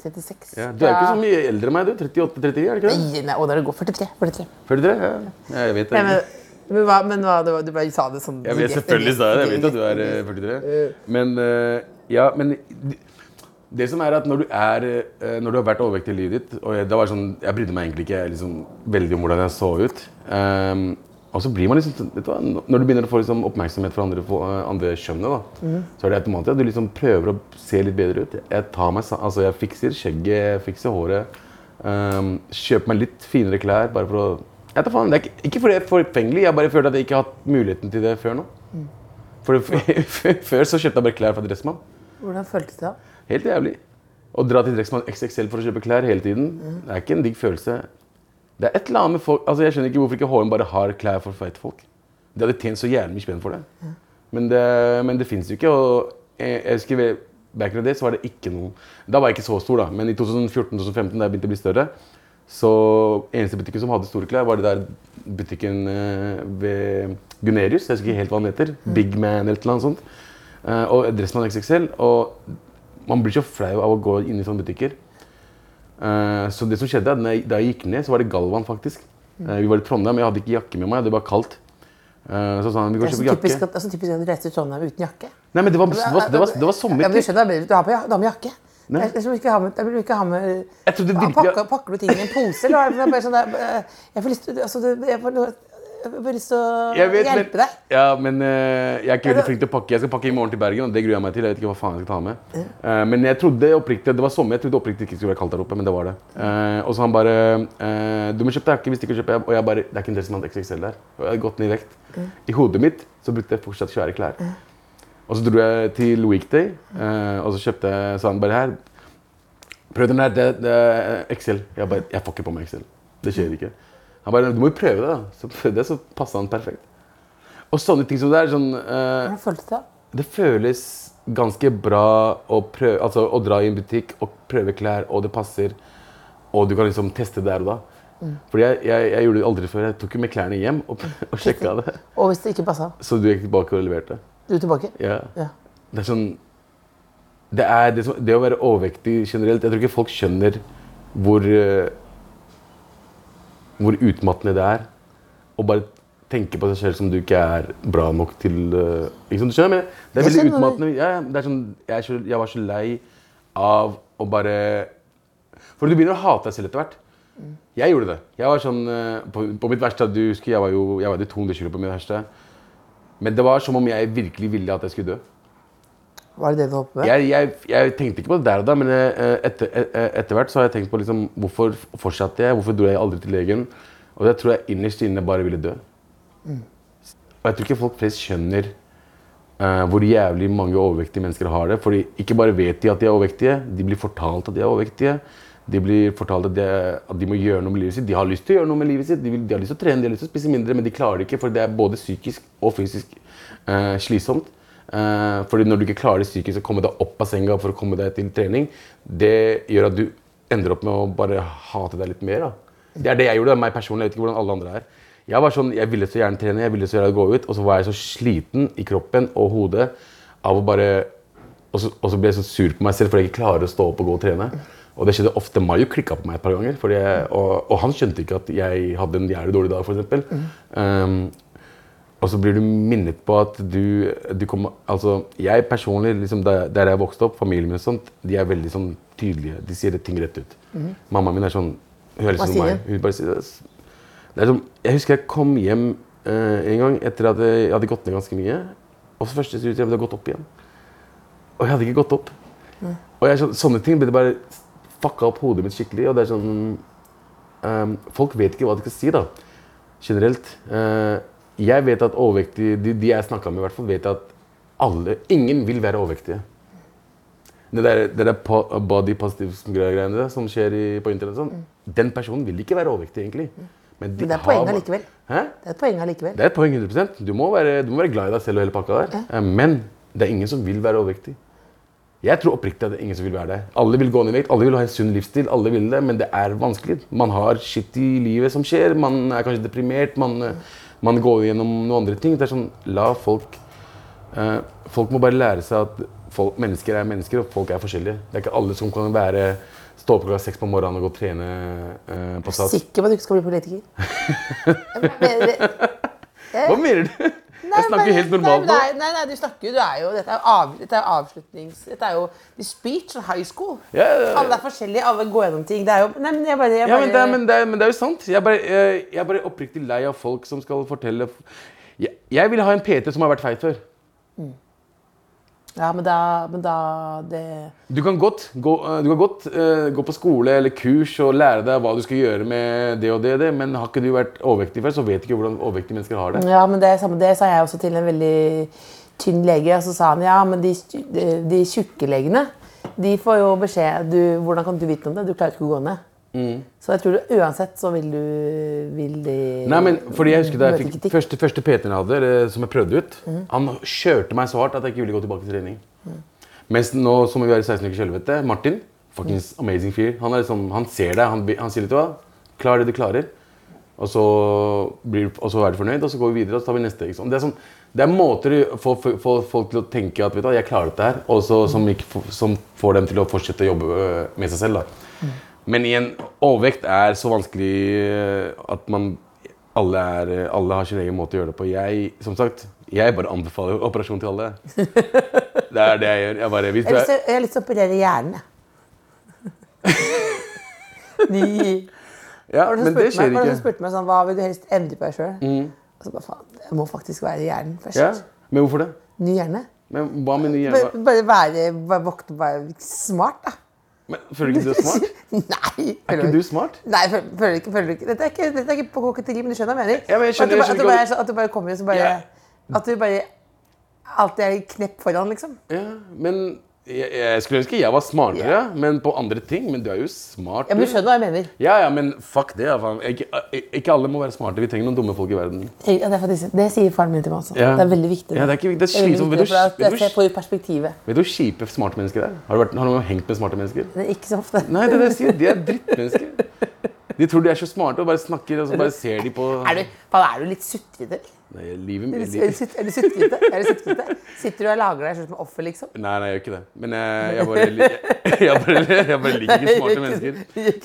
Speaker 4: 36.
Speaker 6: Ja, du er jo ikke så mye eldre enn meg, du. 38-39, er det ikke det?
Speaker 4: Nei, nei, å, da er det godt. 43. 43.
Speaker 6: 43? Ja, jeg vet det.
Speaker 4: Nei, men, men hva, men hva det var- du bare sa det sånn
Speaker 6: Jeg vet selvfølgelig sa jeg det. Jeg vet at du er eh, 43. Men eh, ja, men d- det som er at når du, er, eh, når du har vært overvektig i livet ditt og jeg, det var sånn, jeg brydde meg egentlig ikke liksom, veldig om hvordan jeg så ut. ehm, og så blir man liksom, sånn- vet du hva, Når du begynner å få liksom, oppmerksomhet fra andre, fo- eh, andre kjønnet, da, så er det automatisk at du liksom prøver å se litt bedre ut. Jeg, tar meg, sa- altså, jeg fikser skjegget, jeg fikser håret. ehm, kjøper meg litt finere klær bare for å Jeg vet da faen, det er ikke, ikke fordi jeg er forfengelig, jeg bare føler at jeg ikke har hatt muligheten til det før nå. For Før så kjøpte jeg bare klær fra Dressmann.
Speaker 4: Hvordan føltes det? da?
Speaker 6: Helt jævlig. Å dra til Drexman XXL for å kjøpe klær hele tiden, det er ikke en digg følelse. Det er et eller annet med folk, altså Jeg skjønner ikke hvorfor ikke HM bare har klær for feite folk. De hadde tjent så jævlig mye spenn for det. Men det, men det fins jo ikke. og jeg, jeg husker ved- Back in the day så var det ikke noe Da var jeg ikke så stor, da. Men i 2014-2015, da jeg begynte å bli større, så eneste butikken som hadde store klær, var det der butikken eh, ved Gunerius. Jeg husker ikke helt hva den heter. Big Man eller noe sånt. Eh, og Dressmann XXL. Og man blir så flau av å gå inn i sånne butikker. Eh, så det som skjedde, er at når jeg- da jeg gikk ned, så var det Galvan, faktisk. Eh, vi var i Trondheim, jeg hadde ikke jakke med meg. Det var kaldt. Eh, så sa han vi kan
Speaker 4: Det er så
Speaker 6: kjøpe jakke.
Speaker 4: typisk at, det er så typisk at du reiser til Trondheim uten jakke.
Speaker 6: Nei, men det var, det var, det var, det var sommer.
Speaker 4: Ja, men du skjønner, det er bedre at du har, på, du har med jakke.
Speaker 6: Nei.
Speaker 4: Jeg, jeg, tror ikke jeg, har med, jeg vil ikke ha med
Speaker 6: Jeg trodde virkelig-
Speaker 4: pakker, pakker du ting i en pose, eller er det bare sånn der eh, Jeg får lyst til altså, det- jeg får, jeg får lyst til å
Speaker 6: Jeg vet, men-
Speaker 4: hjelpe deg.
Speaker 6: Ja, men eh, jeg er ikke veldig flink til å pakke. Jeg skal pakke i morgen til Bergen, og det gruer jeg meg til. Jeg vet ikke hva faen jeg skal ta med. Eh, men jeg trodde oppriktig det var sommer. Jeg trodde oppriktig ikke det skulle være kaldt der oppe, men det var det. Eh, og så han bare eh, Du må kjøpe jakke hvis du ikke kjøper jeg. Og jeg bare Det er ikke en del som hadde XXL der. Og jeg hadde gått ned i vekt. I hodet mitt så brukte jeg fortsatt svære klær. Og så dro jeg til Weekday, eh, og så kjøpte jeg sa han bare her Prøv den der, det, det er Excel. Jeg bare, jeg får ikke på meg Excel. Det skjer ikke. Han bare, du må jo prøve det da. Så prøvde jeg, så passet han perfekt. Og sånne ting som det er, sånn, eh,
Speaker 4: Hvordan føltes det?
Speaker 6: det føles ganske bra å, prøve, altså, å dra i en butikk og prøve klær, og det passer. Og du kan liksom teste der og da. Fordi jeg, jeg, jeg gjorde det aldri før. Jeg tok jo med klærne hjem og, og sjekka det.
Speaker 4: Og hvis det ikke passa,
Speaker 6: Så du gikk tilbake og leverte.
Speaker 4: du er tilbake?
Speaker 6: Ja.
Speaker 4: Ja.
Speaker 6: Det er sånn det, er det, som, det å være overvektig generelt Jeg tror ikke folk skjønner hvor eh, Hvor utmattende det er å bare tenke på seg selv som du ikke er bra nok til eh, ikke sant, Du skjønner? Men det er
Speaker 4: Jeg
Speaker 6: veldig
Speaker 4: skjønner hva du-
Speaker 6: utmattende. Ja, ja, det er sånn, jeg, er så, jeg var så lei av å bare For du begynner å hate deg selv etter hvert. Jeg gjorde det. Jeg var sånn, eh, på, på mitt verste, du husker, jeg var jo jeg var 200 kilo på mitt verste. Men det var som om jeg virkelig ville at jeg skulle dø.
Speaker 4: Var det det du holdt på med?
Speaker 6: Jeg, jeg, jeg tenkte ikke på det der og da, men eh, etter, eh, etter hvert så har jeg tenkt på liksom, hvorfor fortsatte jeg, hvorfor dro jeg aldri til legen? Og jeg tror jeg innerst inne bare ville dø. Og jeg tror ikke folk flest skjønner eh, hvor jævlig mange overvektige mennesker har det. Fordi ikke bare vet de at de er overvektige, de blir fortalt at de er overvektige. De blir fortalt at de, at de må gjøre noe med livet sitt. De har lyst til å gjøre noe med livet sitt. De, vil, de har lyst til å trene, de har lyst til å spise mindre, men de klarer det ikke, for det er både psykisk og fysisk eh, slitsomt. Eh, fordi når du ikke klarer det psykisk å komme deg opp av senga for å komme deg til trening, det gjør at du ender opp med å bare hate deg litt mer. da. Det er det jeg gjorde. det er meg personlig, jeg vet ikke hvordan alle andre er. Jeg var sånn, jeg ville så gjerne trene, jeg ville så gjerne gå ut, og så var jeg så sliten i kroppen og hodet av å bare og så, og så ble jeg så sur på meg selv fordi jeg ikke klarer å stå opp og gå og trene. Og det skjedde ofte. Mayo klikka på meg et par ganger. Fordi jeg, og, og han skjønte ikke at jeg hadde en jævlig dårlig dag, f.eks. Um, og så blir du minnet på at du, du kommer Altså, jeg personlig, liksom, der, der jeg vokste opp, familien min og sånt, de er veldig sånn tydelige. De sier ting rett ut. Mammaen min er sånn Hun er
Speaker 4: Mhm.
Speaker 6: litt
Speaker 4: Hva
Speaker 6: sånn
Speaker 4: sier
Speaker 6: som
Speaker 4: hun?
Speaker 6: meg. Hun bare sier "S- det er som, jeg husker jeg kom hjem eh, en gang etter at jeg hadde gått ned ganske mye. Og så første studie hadde jeg gått opp igjen. Og jeg hadde ikke gått opp. Og jeg, er sånn, sånne ting ble det bare fucka opp hodet mitt skikkelig. Og det er sånn ehm, Folk vet ikke hva de skal si, da. Generelt. Eh, jeg vet at overvektige, de, de jeg snakka med, i hvert fall, vet at alle, ingen vil være overvektige. Det der, det der po- body positive-greiene der som skjer i, på internett, og sånn, den personen vil ikke være overvektig, egentlig. Men, de
Speaker 4: Mm. Men det er
Speaker 6: har
Speaker 4: poenget
Speaker 6: bare-
Speaker 4: allikevel.
Speaker 6: Hæ?
Speaker 4: Det er et poeng allikevel.
Speaker 6: Det er et poeng 100 du må, være, du må være glad i deg selv og hele pakka der. Eh, Men det er ingen som vil være overvektig. Jeg tror oppriktig at det er ingen som vil være det. Alle vil gå ned i vekt, alle vil ha en sunn livsstil, alle vil det, men det er vanskelig. Man har shit i livet som skjer, man er kanskje deprimert, man, eh, man går gjennom noen andre ting. Det er sånn, la folk eh, Folk må bare lære seg at folk, mennesker er mennesker, og folk er forskjellige. Det er ikke alle som kan være Stå opp klokka seks på morgenen og gå og trene eh,
Speaker 4: Jeg er
Speaker 6: på sats.
Speaker 4: sikker på at du ikke skal bli politiker. Jeg mener-
Speaker 6: Hva mener du? jeg snakker
Speaker 4: men-
Speaker 6: helt normalt nå.
Speaker 4: nei, nei, nei, du snakker jo, du er jo Dette er jo, av, dette er jo avslutnings... Dette er jo the speech og high school.
Speaker 6: Ja, ja, ja.
Speaker 4: Alle er forskjellige, alle går gjennom ting. Det er jo Nei, men jeg bare, jeg
Speaker 6: Ja,
Speaker 4: bare
Speaker 6: men det, er, men, det er, men det er jo sant. Jeg er bare, jeg, jeg er bare oppriktig lei av folk som skal fortelle Jeg, jeg vil ha en PT som har vært feit før.
Speaker 4: Ja, men da, men da det,
Speaker 6: Du kan godt, gå, eh, du kan godt eh, gå på skole eller kurs og lære deg hva du skal gjøre med det og det, og det men har ikke du vært overvektig før, så vet du ikke hvordan overvektige mennesker har det.
Speaker 4: ja, men det, er samme, det sa jeg også til en veldig tynn lege. Og så sa han ja, men de, stu- de, de tjukke legene de får jo beskjed du, Hvordan kan du vite om det? Du klarer ikke å gå ned.
Speaker 6: Mm.
Speaker 4: Så jeg tror du, uansett så vil du vil de
Speaker 6: Nei, men
Speaker 4: Eh,
Speaker 6: fordi jeg husker Da jeg
Speaker 4: møte
Speaker 6: fikk
Speaker 4: kritikk.
Speaker 6: første, første PT-en jeg hadde, eller, som jeg prøvde ut, han kjørte meg så hardt at jeg ikke ville gå tilbake til trening. Mens nå som vi er i 16 ukers helvete, Martin, fuckings amazing fyr, han, er liksom, han ser deg, han, bi- han sier litt hva, klar det du klarer, og så, blir, og så er du fornøyd, og så går vi videre, og så tar vi neste. Ikke sant? Det, er sånn, det er måter å få, få- få folk til å tenke at vet du, hva, jeg klarer dette her, og så, som, ikke, f- som får dem til å fortsette å jobbe øh, med seg selv. Da. Men igjen, overvekt er så vanskelig øh, at man alle, er, alle har sin egen måte å gjøre det på. Jeg, som sagt, jeg bare anbefaler operasjon til alle. Det er det jeg gjør. Jeg bare, hvis
Speaker 4: Jeg har
Speaker 6: du er,
Speaker 4: lyst til- jeg har lyst til å operere hjernen, jeg. Ny-
Speaker 6: ja,
Speaker 4: Var det noen som
Speaker 6: men det
Speaker 4: spurte
Speaker 6: skjer
Speaker 4: meg, var det noen som
Speaker 6: ikke. Mm.
Speaker 4: spurte meg sånn, hva vil du helst endre på deg sjøl? Og så bare faen, det må faktisk være hjernen først.
Speaker 6: Ja? Men hvorfor det?
Speaker 4: Ny hjerne.
Speaker 6: Men hva med nye
Speaker 4: Bare,
Speaker 6: hjerner?
Speaker 4: bare være bare våkne bare smart, da.
Speaker 6: Men Føler du ikke du er smart?
Speaker 4: Nei.
Speaker 6: Er ikke du smart?
Speaker 4: Nei, føler, føler, du ikke, føler du ikke Dette er ikke, dette er ikke på koketteri, men du skjønner hva jeg mener?
Speaker 6: Ja, men jeg skjønner-
Speaker 4: at,
Speaker 6: jeg skjønner
Speaker 4: du
Speaker 6: ikke
Speaker 4: bare, at,
Speaker 6: hva
Speaker 4: du bare, at du bare kommer og så bare
Speaker 6: Ja.
Speaker 4: At du bare alltid er et knepp foran, liksom.
Speaker 6: Ja, men jeg, jeg skulle ønske jeg var smartere, men på andre ting. Men du er jo smart.
Speaker 4: Ja, men Du
Speaker 6: du.
Speaker 4: skjønner hva jeg mener.
Speaker 6: Ja, ja, men fuck det. ja, faen. Ikke, eh, ikke alle må være smarte. Vi trenger noen dumme folk i verden.
Speaker 4: Jeg- ja, Det, er faktisk, det sier faren min til meg også.
Speaker 6: Ja.
Speaker 4: Det er veldig viktig.
Speaker 6: Ja, det er ikke- det
Speaker 4: veldig
Speaker 6: er
Speaker 4: viktig,
Speaker 6: slitsomt, men du-
Speaker 4: for at
Speaker 6: men du-
Speaker 4: Jeg ser på perspektivet.
Speaker 6: Vet du hvor kjipe smarte mennesker er? Har du, vært, har du hengt med smarte mennesker?
Speaker 4: Men ikke så ofte.
Speaker 6: Nei, det er det jeg sier. De er drittmennesker. De tror de er så smarte og bare snakker, og så bare ser de på
Speaker 4: Er du, faen, er du litt sutrete?
Speaker 6: Nei, livet
Speaker 4: Er
Speaker 6: mitt
Speaker 4: du- er du sut- er du sutrete? Er du sutrete? Sitter du og lager deg selv som offer, liksom?
Speaker 6: Nei, nei, jeg gjør ikke det. Men jeg, jeg, bare, jeg, jeg, bare, jeg bare liker ikke smarte mennesker.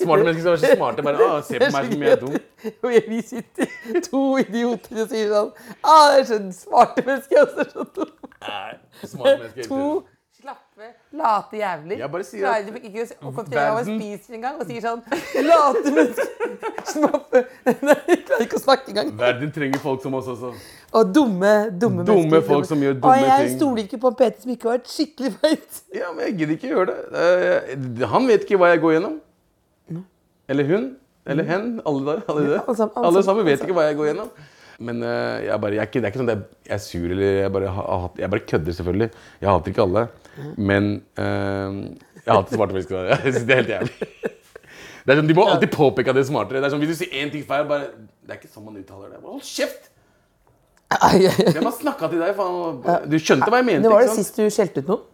Speaker 6: Smarte mennesker som er så smarte. Bare ah, se på meg som om jeg er dum.
Speaker 4: Og jeg- vi sitter to idioter og sier sånn ah, det er så smarte mennesker, og så er det så dumme.
Speaker 6: Nei, smarte mennesker er
Speaker 4: To slappe, late jævler.
Speaker 6: Jeg bare sier
Speaker 4: Klarer
Speaker 6: at
Speaker 4: de ikke å kontrollere hva
Speaker 6: verden-
Speaker 4: man spiser engang, og sier sånn Late mennesker. Slappe. Nei, jeg klarer ikke å snakke engang.
Speaker 6: Verden trenger folk som oss også.
Speaker 4: Og dumme, dumme,
Speaker 6: Dumme
Speaker 4: mennesker.
Speaker 6: folk som gjør
Speaker 4: Å,
Speaker 6: dumme
Speaker 4: Jeg
Speaker 6: ting.
Speaker 4: stoler ikke på en PT som ikke har vært skikkelig feit.
Speaker 6: Ja, men jeg gidder ikke gjøre det. Eh, Han vet ikke hva jeg går gjennom. Eller hun. Eller hen. Alle der. Alle, der.
Speaker 4: Mm. alle sammen, alle sammen,
Speaker 6: alle sammen vet ikke hva jeg går gjennom. Men eh, jeg, bare, jeg, er ikke, det er ikke sånn at jeg, jeg er sur eller jeg bare, ha- ha- jeg bare kødder, selvfølgelig. Jeg hater ikke alle. Men eh, jeg hater smarte mennesker. Jeg synes det er helt jævlig. Det er sånn, De må alltid påpeke at de er smartere. Det er sånn, Hvis du sier én ting feil, bare Det er ikke sånn man uttaler det. Bare, Hold kjeft!
Speaker 4: Ai, ai, ai.
Speaker 6: Jeg bare snakka til deg, faen. Du skjønte hva jeg mente.
Speaker 4: Det var
Speaker 6: ikke
Speaker 4: det
Speaker 6: sant?
Speaker 4: sist du skjelte ut noen.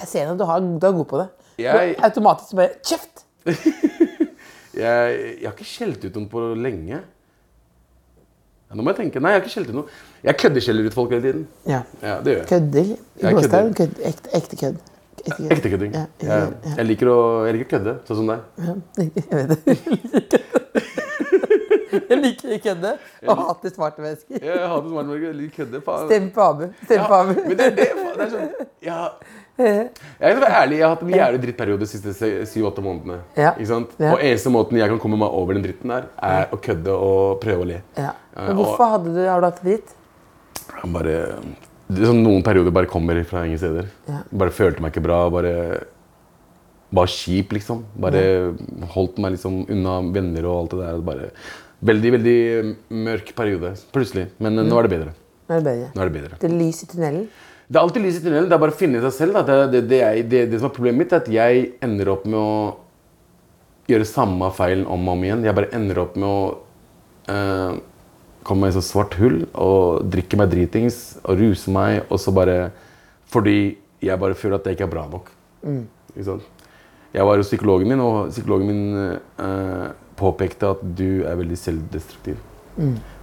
Speaker 4: Jeg ser at du, har, du er god på det.
Speaker 6: Jeg-
Speaker 4: Du automatisk bare Kjeft!
Speaker 6: Jeg, jeg har ikke skjelt ut noen på lenge. Ja, Nå må jeg tenke. Nei, jeg har ikke skjelt ut noe. Jeg køddeskjeller ut folk hele tiden.
Speaker 4: Ja.
Speaker 6: Ja, det gjør jeg.
Speaker 4: Kødder. I
Speaker 6: Jeg
Speaker 4: gåstein.
Speaker 6: kødder.
Speaker 4: Kødd. Ekte, ekte kødd. Ekte kødd.
Speaker 6: Ekte kødding.
Speaker 4: Ja, ja,
Speaker 6: Jeg, jeg liker å jeg liker å kødde, sånn som deg.
Speaker 4: ja. Jeg vet det. Jeg liker å kødde og hater svarte mennesker.
Speaker 6: Jeg har det smart, men jeg liker å kødde. faen.
Speaker 4: Stem på Abu. Stem på
Speaker 6: Ja,
Speaker 4: Abu.
Speaker 6: men det er det, faen, det er sånn ja. Jeg skal være ærlig, jeg har hatt en jævlig drittperiode de siste se- syv-åtte månedene.
Speaker 4: Ja.
Speaker 6: Ikke sant?
Speaker 4: Ja.
Speaker 6: Og eneste måten jeg kan komme meg over den dritten der, er å kødde og prøve å le.
Speaker 4: Ja.
Speaker 6: Eh,
Speaker 4: Men hvorfor hadde du, har du hatt dritt?
Speaker 6: og jeg bare, det er sånn, noen perioder bare kommer fra ingen steder.
Speaker 4: Ja.
Speaker 6: Bare følte meg ikke bra. Bare var kjip, liksom. Bare holdt meg liksom unna venner og alt det der. og Bare, veldig, veldig mørk periode. Plutselig. Men eh, nå er det bedre.
Speaker 4: Nå er det bedre.
Speaker 6: Nå er det bedre.
Speaker 4: Det er lys i tunnelen.
Speaker 6: Det er alltid lys i tunnelen. Det er bare å finne seg selv. Da. Det, er- det, det, er, det, det som er problemet mitt, er at jeg ender opp med å gjøre samme feilen om og om igjen. Jeg bare ender opp med å eh, komme meg i et sånt svart hull og drikke meg dritings og ruse meg, og så bare Fordi jeg bare føler at jeg ikke er bra nok. Ikke sant? Jeg var hos psykologen min, og psykologen min eh, påpekte at du er veldig selvdestruktiv.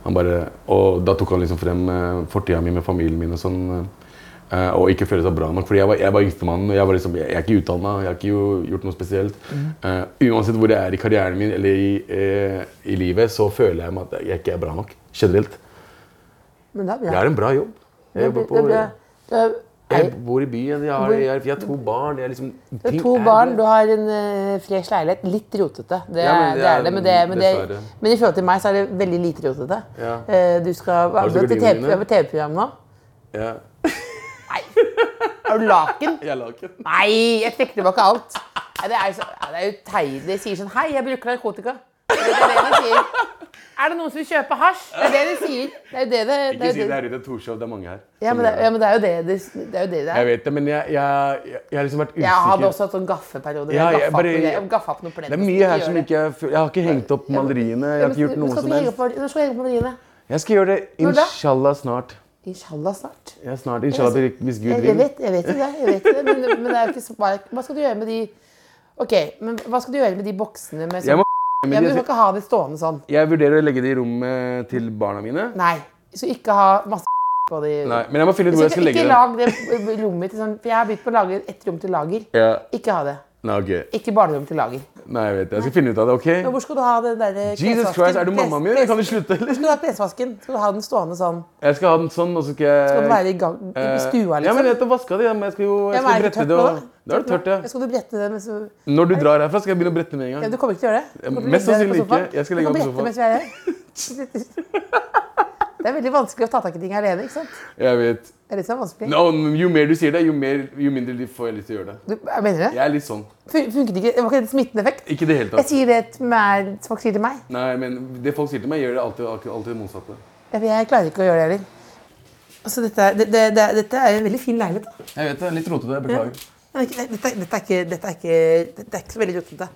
Speaker 6: Han bare, og da tok han liksom frem eh, fortida mi med familien min og sånn. eh, og ikke føle seg bra nok. Fordi jeg var, jeg var yngstemann. og Jeg, var liksom, jeg, jeg er ikke utdanna, jeg har ikke jo, gjort noe spesielt.
Speaker 4: Mm.
Speaker 6: Eh, uansett hvor jeg er i karrieren min eller i, eh, i livet, så føler jeg meg at jeg ikke er bra nok. Generelt.
Speaker 4: Men det er
Speaker 6: Jeg
Speaker 4: bra.
Speaker 6: har en bra jobb. Jeg
Speaker 4: Det
Speaker 6: jobber
Speaker 4: er
Speaker 6: på
Speaker 4: bra. Du har-
Speaker 6: Jeg bor i byen, jeg har, jeg har, jeg har to barn. Jeg er liksom,
Speaker 4: Du har
Speaker 6: ting
Speaker 4: to
Speaker 6: er
Speaker 4: barn,
Speaker 6: bra.
Speaker 4: du har en eh, fresh leilighet. Litt rotete. Det,
Speaker 6: Ja, men
Speaker 4: er-
Speaker 6: det
Speaker 4: det
Speaker 6: er-
Speaker 4: er det, men, det, men, det,
Speaker 6: dessverre.
Speaker 4: men i forhold til meg så er det veldig lite rotete.
Speaker 6: Ja.
Speaker 4: Eh, Du skal
Speaker 6: Har
Speaker 4: være
Speaker 6: du
Speaker 4: med til
Speaker 6: gardinene
Speaker 4: TV
Speaker 6: dine?
Speaker 4: er på TV-program nå.
Speaker 6: Ja.
Speaker 4: Er du laken?
Speaker 6: Jeg er laken.
Speaker 4: Nei, jeg trekker tilbake alt. Nei, Det er, jo så, nei, det er jo teit. De sier sånn Hei, jeg bruker narkotika. Det er det de sier. Er det noen som vil kjøpe hasj? Det er det de sier. Det er jo det det, det,
Speaker 6: Ikke
Speaker 4: er
Speaker 6: si
Speaker 4: jo
Speaker 6: det
Speaker 4: det.
Speaker 6: her ute, Torshov. Det er mange her.
Speaker 4: Ja, men det, ja, men det er jo det det, det, er jo det, det
Speaker 6: Jeg
Speaker 4: er.
Speaker 6: vet det, men jeg, jeg, jeg, jeg har liksom vært usikker.
Speaker 4: Jeg hadde også hatt sånn gaffeperiode. hvor
Speaker 6: Ja,
Speaker 4: jeg
Speaker 6: jeg
Speaker 4: gaffa opp
Speaker 6: bare-
Speaker 4: noe greier. Jeg gaffa opp noen
Speaker 6: Det
Speaker 4: pledd.
Speaker 6: er mye her som ikke jeg føl- Jeg har ikke hengt opp maleriene. Jeg har ikke gjort
Speaker 4: Men
Speaker 6: noe
Speaker 4: skal
Speaker 6: som
Speaker 4: ikke henge
Speaker 6: helst.
Speaker 4: opp maleriene? Når skal jeg henge opp maleriene?
Speaker 6: Jeg skal gjøre det
Speaker 4: Når da?
Speaker 6: inshallah snart.
Speaker 4: Inshallah snart.
Speaker 6: Ja, snart. Inshallah til- hvis Gud
Speaker 4: Jeg, jeg,
Speaker 6: vil.
Speaker 4: vet, jeg vet jo det, jeg vet jo det men, men det er jo ikke så bare Hva skal du gjøre med de Ok, men hva skal du gjøre med de boksene med
Speaker 6: Jeg
Speaker 4: sånn
Speaker 6: må
Speaker 4: ja,
Speaker 6: men
Speaker 4: men Du skal
Speaker 6: jeg,
Speaker 4: ikke ha det stående sånn.
Speaker 6: jeg vurderer å legge det i rommet til barna mine.
Speaker 4: Nei. Du skal ikke ha masse på de
Speaker 6: Nei, men jeg må finne ut
Speaker 4: Du
Speaker 6: hvor
Speaker 4: skal
Speaker 6: jeg skal
Speaker 4: ikke,
Speaker 6: legge
Speaker 4: ikke
Speaker 6: det.
Speaker 4: lag det rommet til sånn For jeg har begynt på å lage ett rom til lager.
Speaker 6: Ja.
Speaker 4: Ikke ha det.
Speaker 6: Nei, ok.
Speaker 4: Ikke barnerom til lager.
Speaker 6: Nei, jeg vet det. Jeg skal finne ut av det,
Speaker 4: Men
Speaker 6: OK?
Speaker 4: hvor skal du ha eh, den derre
Speaker 6: Jesus Christ, er du mammaen min? eller Kan du slutte, eller?
Speaker 4: Skal du ha klesvasken? Skal du ha den stående sånn?
Speaker 6: Jeg skal ha den sånn, og så skal jeg Eh,
Speaker 4: Skal den være i, gang, i stua,
Speaker 6: Ja, men
Speaker 4: liksom?
Speaker 6: jeg har vaska det. ja, Men jeg skal jo
Speaker 4: men er
Speaker 6: jeg skal
Speaker 4: det
Speaker 6: brette
Speaker 4: tørt
Speaker 6: det.
Speaker 4: nå,
Speaker 6: Og... Da er det tørt, ja.
Speaker 4: Skal du brette det mens du
Speaker 6: Når du drar herfra, skal jeg begynne å brette med en
Speaker 4: Ja,
Speaker 6: gang.
Speaker 4: du kommer ikke til å gjøre det? Du kommer til å
Speaker 6: Mest
Speaker 4: ligge der på
Speaker 6: sannsynlig
Speaker 4: sofaen.
Speaker 6: ikke. Jeg
Speaker 4: Du
Speaker 6: skal ligge
Speaker 4: kan
Speaker 6: her på
Speaker 4: brette mens vi er her. Det er veldig vanskelig å ta tak i ting alene. ikke sant?
Speaker 6: Jeg vet.
Speaker 4: Det er litt sånn vanskelig.
Speaker 6: Nå, jo mer du sier det, jo, mer, jo mindre liv får jeg lyst til å gjøre det.
Speaker 4: Du, jeg mener det?
Speaker 6: Jeg er litt sånn.
Speaker 4: Fun- Funket ikke? Det var ikke en smittende effekt?
Speaker 6: Ikke i det hele
Speaker 4: Jeg
Speaker 6: tatt.
Speaker 4: sier det til meg, folk sier til meg.
Speaker 6: Nei, men Det folk sier til meg, gjør det alltid, alltid, alltid det motsatte.
Speaker 4: Jeg, jeg klarer ikke å gjøre det heller. Altså, dette, er- det, det, det, dette er en veldig fin leilighet. da.
Speaker 6: Jeg vet det. Litt rotete. Jeg beklager.
Speaker 4: Men ikke- det- Dette, dette, er ikke, dette, er ikke, dette er ikke så veldig rotete.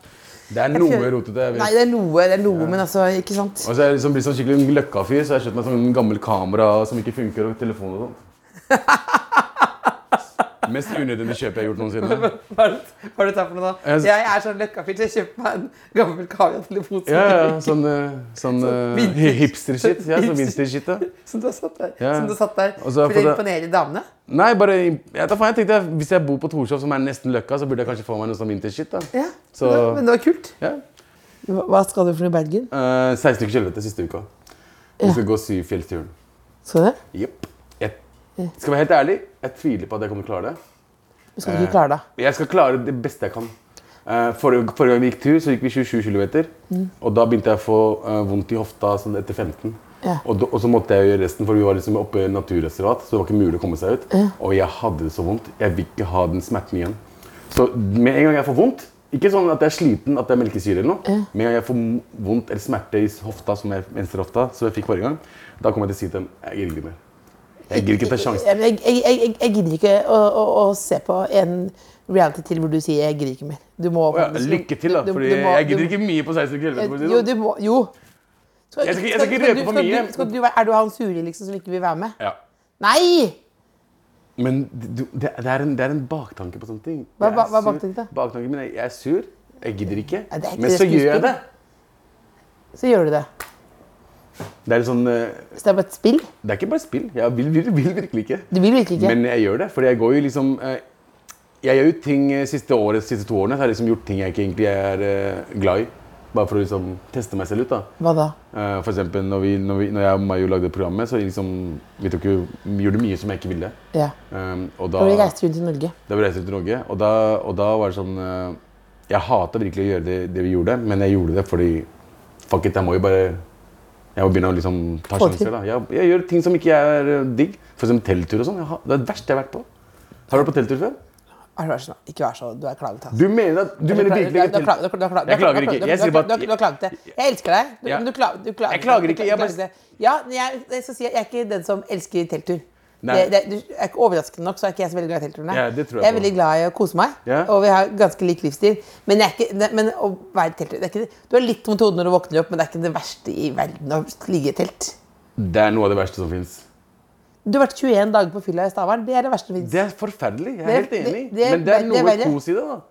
Speaker 6: Det er noe rotete. jeg
Speaker 4: Nei,
Speaker 6: vet.
Speaker 4: det er noe, det er noe men altså Ikke sant?
Speaker 6: Og så er jeg liksom blitt sånn skikkelig løkkafyr, så jeg har kjøpt meg sånn gammel kamera som ikke funker, og telefon og sånt. Mest unødvendige kjøp jeg har gjort noensinne.
Speaker 4: Hva er det hva er det du tar for noe da?
Speaker 6: Jeg-
Speaker 4: Jeg er sånn løkkafyr, så jeg kjøper meg en gammel kamera-telefon.
Speaker 6: Ja, ja, Sånn, eh, sånn eh,
Speaker 4: vintage-
Speaker 6: hipster-shit. Ja, sånn vintage-shit, ja.
Speaker 4: Som du har satt der,
Speaker 6: Ja.
Speaker 4: som du har satt der
Speaker 6: Og så har jeg
Speaker 4: for å
Speaker 6: fått-
Speaker 4: imponere damene?
Speaker 6: Nei, bare jeg, vet da faen, jeg tenkte jeg, Hvis jeg bor på Torshov, som er nesten Løkka, så burde jeg kanskje få meg noe sånn vintage-shit. da.
Speaker 4: Ja.
Speaker 6: Så,
Speaker 4: Men det- Men det var kult.
Speaker 6: ja.
Speaker 4: Hva skal du for noe Bergen?
Speaker 6: Eh, 16 stykker kjølvete siste uka. Vi skal gå syv fjellsturen.
Speaker 4: Skal du det?
Speaker 6: Jepp. Jeg skal være helt ærlig, jeg tviler på at jeg kommer til å klare det.
Speaker 4: Men Skal du
Speaker 6: Eh.
Speaker 4: ikke klare det?
Speaker 6: Jeg skal klare det beste jeg kan. Eh, forrige, forrige gang vi gikk tur, så gikk vi 27 km.
Speaker 4: Mm.
Speaker 6: Og da begynte jeg å få eh, vondt i hofta sånn etter 15.
Speaker 4: Ja.
Speaker 6: Og, da, og så måtte jeg gjøre resten, for vi var liksom oppe i et naturreservat. Så det var ikke mulig å komme seg ut. Og jeg hadde det så vondt. Jeg vil ikke ha den smerten igjen. Så med en gang jeg får vondt Ikke sånn at jeg er sliten, at det er melkesyre eller noe. Med en gang jeg får m- vondt eller smerte i hofta, som jeg, venstre hofta, som jeg fikk forrige gang, da kommer jeg til å si til dem jeg gidder ikke mer. Jeg gidder ikke ta sjansen.
Speaker 4: Jeg, jeg, jeg, jeg, jeg gidder ikke å, å, å se på en reality til hvor du sier 'jeg gidder ikke mer'. Du må
Speaker 6: Å ja, lykke til, da.
Speaker 4: du- du
Speaker 6: Fordi
Speaker 4: må-
Speaker 6: jeg
Speaker 4: du-
Speaker 6: gidder ikke mye på 16 km. for å si det
Speaker 4: Jo,
Speaker 6: sånn.
Speaker 4: du må Jo. Skal-
Speaker 6: Jeg skal ikke- jeg skal ikke røpe for
Speaker 4: du-
Speaker 6: mye.
Speaker 4: Skal du, skal du, være- er du han sure liksom, som ikke vil være med?
Speaker 6: Ja.
Speaker 4: Nei!
Speaker 6: Men du, det, det, er en, det er en baktanke på sånne ting.
Speaker 4: Hva-
Speaker 6: Jeg
Speaker 4: hva- hva er
Speaker 6: sur.
Speaker 4: baktanken da?
Speaker 6: Baktanken min er jeg er sur, jeg gidder ikke,
Speaker 4: Ja, det er ikke
Speaker 6: men
Speaker 4: det
Speaker 6: så gjør
Speaker 4: skuespill.
Speaker 6: jeg det.
Speaker 4: Så gjør du det.
Speaker 6: Det er litt sånn eh,
Speaker 4: Så det er bare et spill?
Speaker 6: Det er ikke bare spill. Jeg vil, vil, vil virkelig ikke.
Speaker 4: Du vil virkelig ikke?
Speaker 6: Men jeg gjør det. Fordi jeg går jo liksom eh, Jeg gjør jo ting eh, siste året, siste to årene. Så har jeg liksom gjort ting jeg ikke egentlig er eh, glad i. Bare for å liksom teste meg selv ut. da.
Speaker 4: Hva da?
Speaker 6: Eh, For eksempel, når, vi, når, vi, når jeg og Mayu lagde programmet, så liksom, vi tok jo, vi gjorde mye som jeg ikke ville.
Speaker 4: Ja.
Speaker 6: Um, og da,
Speaker 4: Og vi reiste rundt i Norge.
Speaker 6: da vi reiste til Norge, og da, og da var det sånn eh, Jeg hata virkelig å gjøre det, det vi gjorde, men jeg gjorde det fordi Fuck it, jeg må jo bare Jeg må begynne å liksom ta
Speaker 4: Få til.
Speaker 6: sjanser. da. Jeg, jeg gjør ting som ikke er eh, digg. For eksempel telttur og sånn. Jeg har- Det er det verste jeg har vært på. Har du vært på telttur før?
Speaker 4: Nei, vær så snill, Ikke vær så Du er klaget, altså.
Speaker 6: Du mener, at, du mener virkelig
Speaker 4: Du
Speaker 6: ikke
Speaker 4: har klaget- du har klaget- du har klaget-
Speaker 6: Jeg klager ikke. Jeg sier
Speaker 4: Du
Speaker 6: bare
Speaker 4: har- du har klaget det. Jeg elsker deg. Du,
Speaker 6: Ja.
Speaker 4: men du, kla- du klager,
Speaker 6: Jeg klager ikke, jeg
Speaker 4: Du klager
Speaker 6: bare-
Speaker 4: det. Ja, men jeg, jeg skal si at jeg er ikke den som elsker telttur.
Speaker 6: Nei.
Speaker 4: Det, det, du, er ikke overraskende nok så er ikke jeg så veldig glad i teltturene.
Speaker 6: Ja, det tror jeg
Speaker 4: jeg er
Speaker 6: på.
Speaker 4: veldig glad i å kose meg,
Speaker 6: Ja.
Speaker 4: og vi har ganske lik livsstil. Men, jeg er ikke, det- men å være i telttur det er ikke, det- Du har litt vondt i hodet når du våkner opp, men det er ikke det verste i verden å ligge i telt.
Speaker 6: Det er noe av det verste som fins.
Speaker 4: Du har vært 21 dager på fylla i Stavern. Det er det verste som fins.
Speaker 6: Det er forferdelig. Jeg er
Speaker 4: Det-
Speaker 6: helt enig.
Speaker 4: det- det-
Speaker 6: men det
Speaker 4: det- det
Speaker 6: er
Speaker 4: er
Speaker 6: noe
Speaker 4: verre.
Speaker 6: kos i det. da.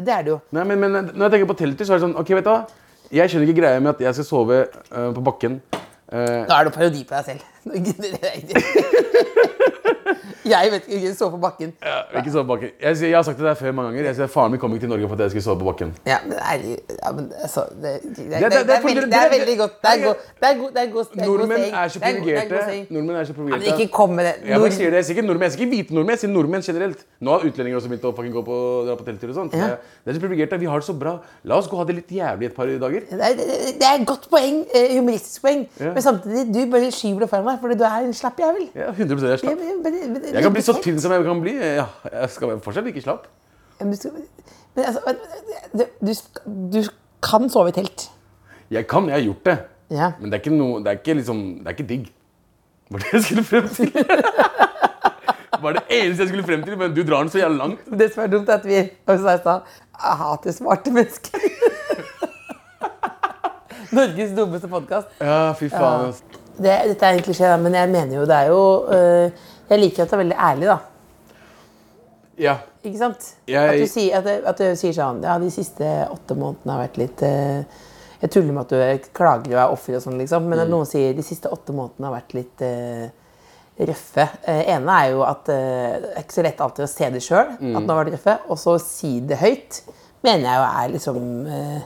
Speaker 4: Det, er det jo.
Speaker 6: Nei, men, men når jeg tenker på telter, så er det sånn Ok, vet du hva? Jeg skjønner ikke greia med at jeg skal sove eh, på bakken. Eh,
Speaker 4: Nå er det parodi på deg selv. Nå gidder jeg ikke. Jeg vet ikke, jeg så på bakken.
Speaker 6: jeg, ikke sove på bakken. Jeg, sier- jeg har sagt det der før mange ganger. Jeg sier Faren min kom ikke til Norge for at jeg skulle sove på bakken.
Speaker 4: Ja, men ærlig ja, men, altså, det, det, det, det,
Speaker 6: det-
Speaker 4: det, er
Speaker 6: det-
Speaker 4: veldig, det er
Speaker 6: det-
Speaker 4: veldig godt. Det er
Speaker 6: det-
Speaker 4: godt. Det er god det er god- det er god
Speaker 6: Nordmenn
Speaker 4: saying.
Speaker 6: er så
Speaker 4: Det god- det er god
Speaker 6: privilegerte.
Speaker 4: saying.
Speaker 6: Nordmenn er så
Speaker 4: Ja, men ikke
Speaker 6: privilegerte.
Speaker 4: kom med det.
Speaker 6: Jeg bare
Speaker 4: Nord-
Speaker 6: sier det, jeg sier ikke nordmenn, jeg sier ikke hvite nordmenn, jeg sier nordmenn generelt. Nå har utlendinger også begynt å fucking gå på, dra på telttur og sånt.
Speaker 4: Ja.
Speaker 6: Det er- Det er så privilegerte. Vi har det så bra. La oss gå og ha det litt jævlig et par dager.
Speaker 4: Det er- det- det er et godt poeng, eh, humoristisk poeng,
Speaker 6: Ja.
Speaker 4: men samtidig du bare skyver det foran deg fordi du er en slapp jævel.
Speaker 6: Ja, 100 jeg er
Speaker 4: Ja,
Speaker 6: slapp.
Speaker 4: men- men- men-
Speaker 6: Jeg kan bli så tynn som jeg kan bli. Ja, jeg skal være fortsatt ikke slapp.
Speaker 4: Ja, men du skal- Men altså, du, du, du kan sove i telt.
Speaker 6: Jeg kan, jeg har gjort det.
Speaker 4: Ja.
Speaker 6: Men det er ikke noe, det er ikke liksom, det er ikke digg. Hva var det jeg skulle frem til? Det var det eneste jeg skulle frem til, men du drar den så jævlig langt.
Speaker 4: Det som er dumt, er at vi som jeg sa, hater smarte mennesker. Norges dummeste podkast.
Speaker 6: Ja, fy faen. ass.
Speaker 4: Det, dette er en klisjé, da, men jeg mener jo det er jo øh, Jeg liker at det er veldig ærlig, da.
Speaker 6: Ja.
Speaker 4: Ikke sant?
Speaker 6: Jeg-
Speaker 4: At, du sier, at, det- at du sier sånn Ja, de siste åtte månedene har vært litt øh, Jeg tuller med at du er- klager og er offer og sånn, liksom, men at noen sier de siste åtte månedene har vært litt øh, røffe. Eh, ene er jo at eh, det er ikke så lett alltid å se det sjøl, at nå var det røffe. Og så si det høyt, mener jeg jo er liksom eh,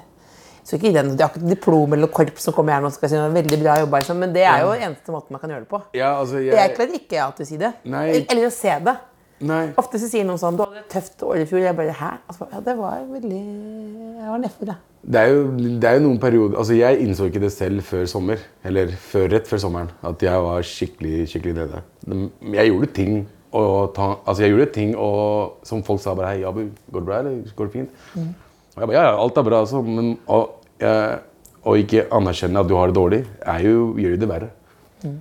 Speaker 4: så ikke den, Det er ikke diplom eller korps som kommer her nå og skal si noe veldig bra jobba, liksom, men det er jo eneste måten man kan gjøre det på.
Speaker 6: Ja, altså,
Speaker 4: Jeg
Speaker 6: jeg...
Speaker 4: klarer ikke alltid å si det.
Speaker 6: Nei.
Speaker 4: Eller- Eller å se det.
Speaker 6: Nei.
Speaker 4: Ofte så sier noen sånn 'Du hadde et tøft år i fjor.' Jeg bare 'Hæ?' Altså, ja, det var veldig Jeg var nedfor, da.
Speaker 6: Det er, jo, det er jo noen perioder, altså jeg innså ikke det selv før sommer, eller før, rett før sommeren, at jeg var skikkelig, skikkelig nede. Men Jeg gjorde ting, og ta, altså jeg gjorde ting og, som folk sa bare, hei, Abu, går det bra, eller går det fint?
Speaker 4: Mm.
Speaker 6: Og jeg bare, ja, ja, alt er bra, altså, men å, eh, å ikke anerkjenne at du har det dårlig, er jo, gjør jo det verre.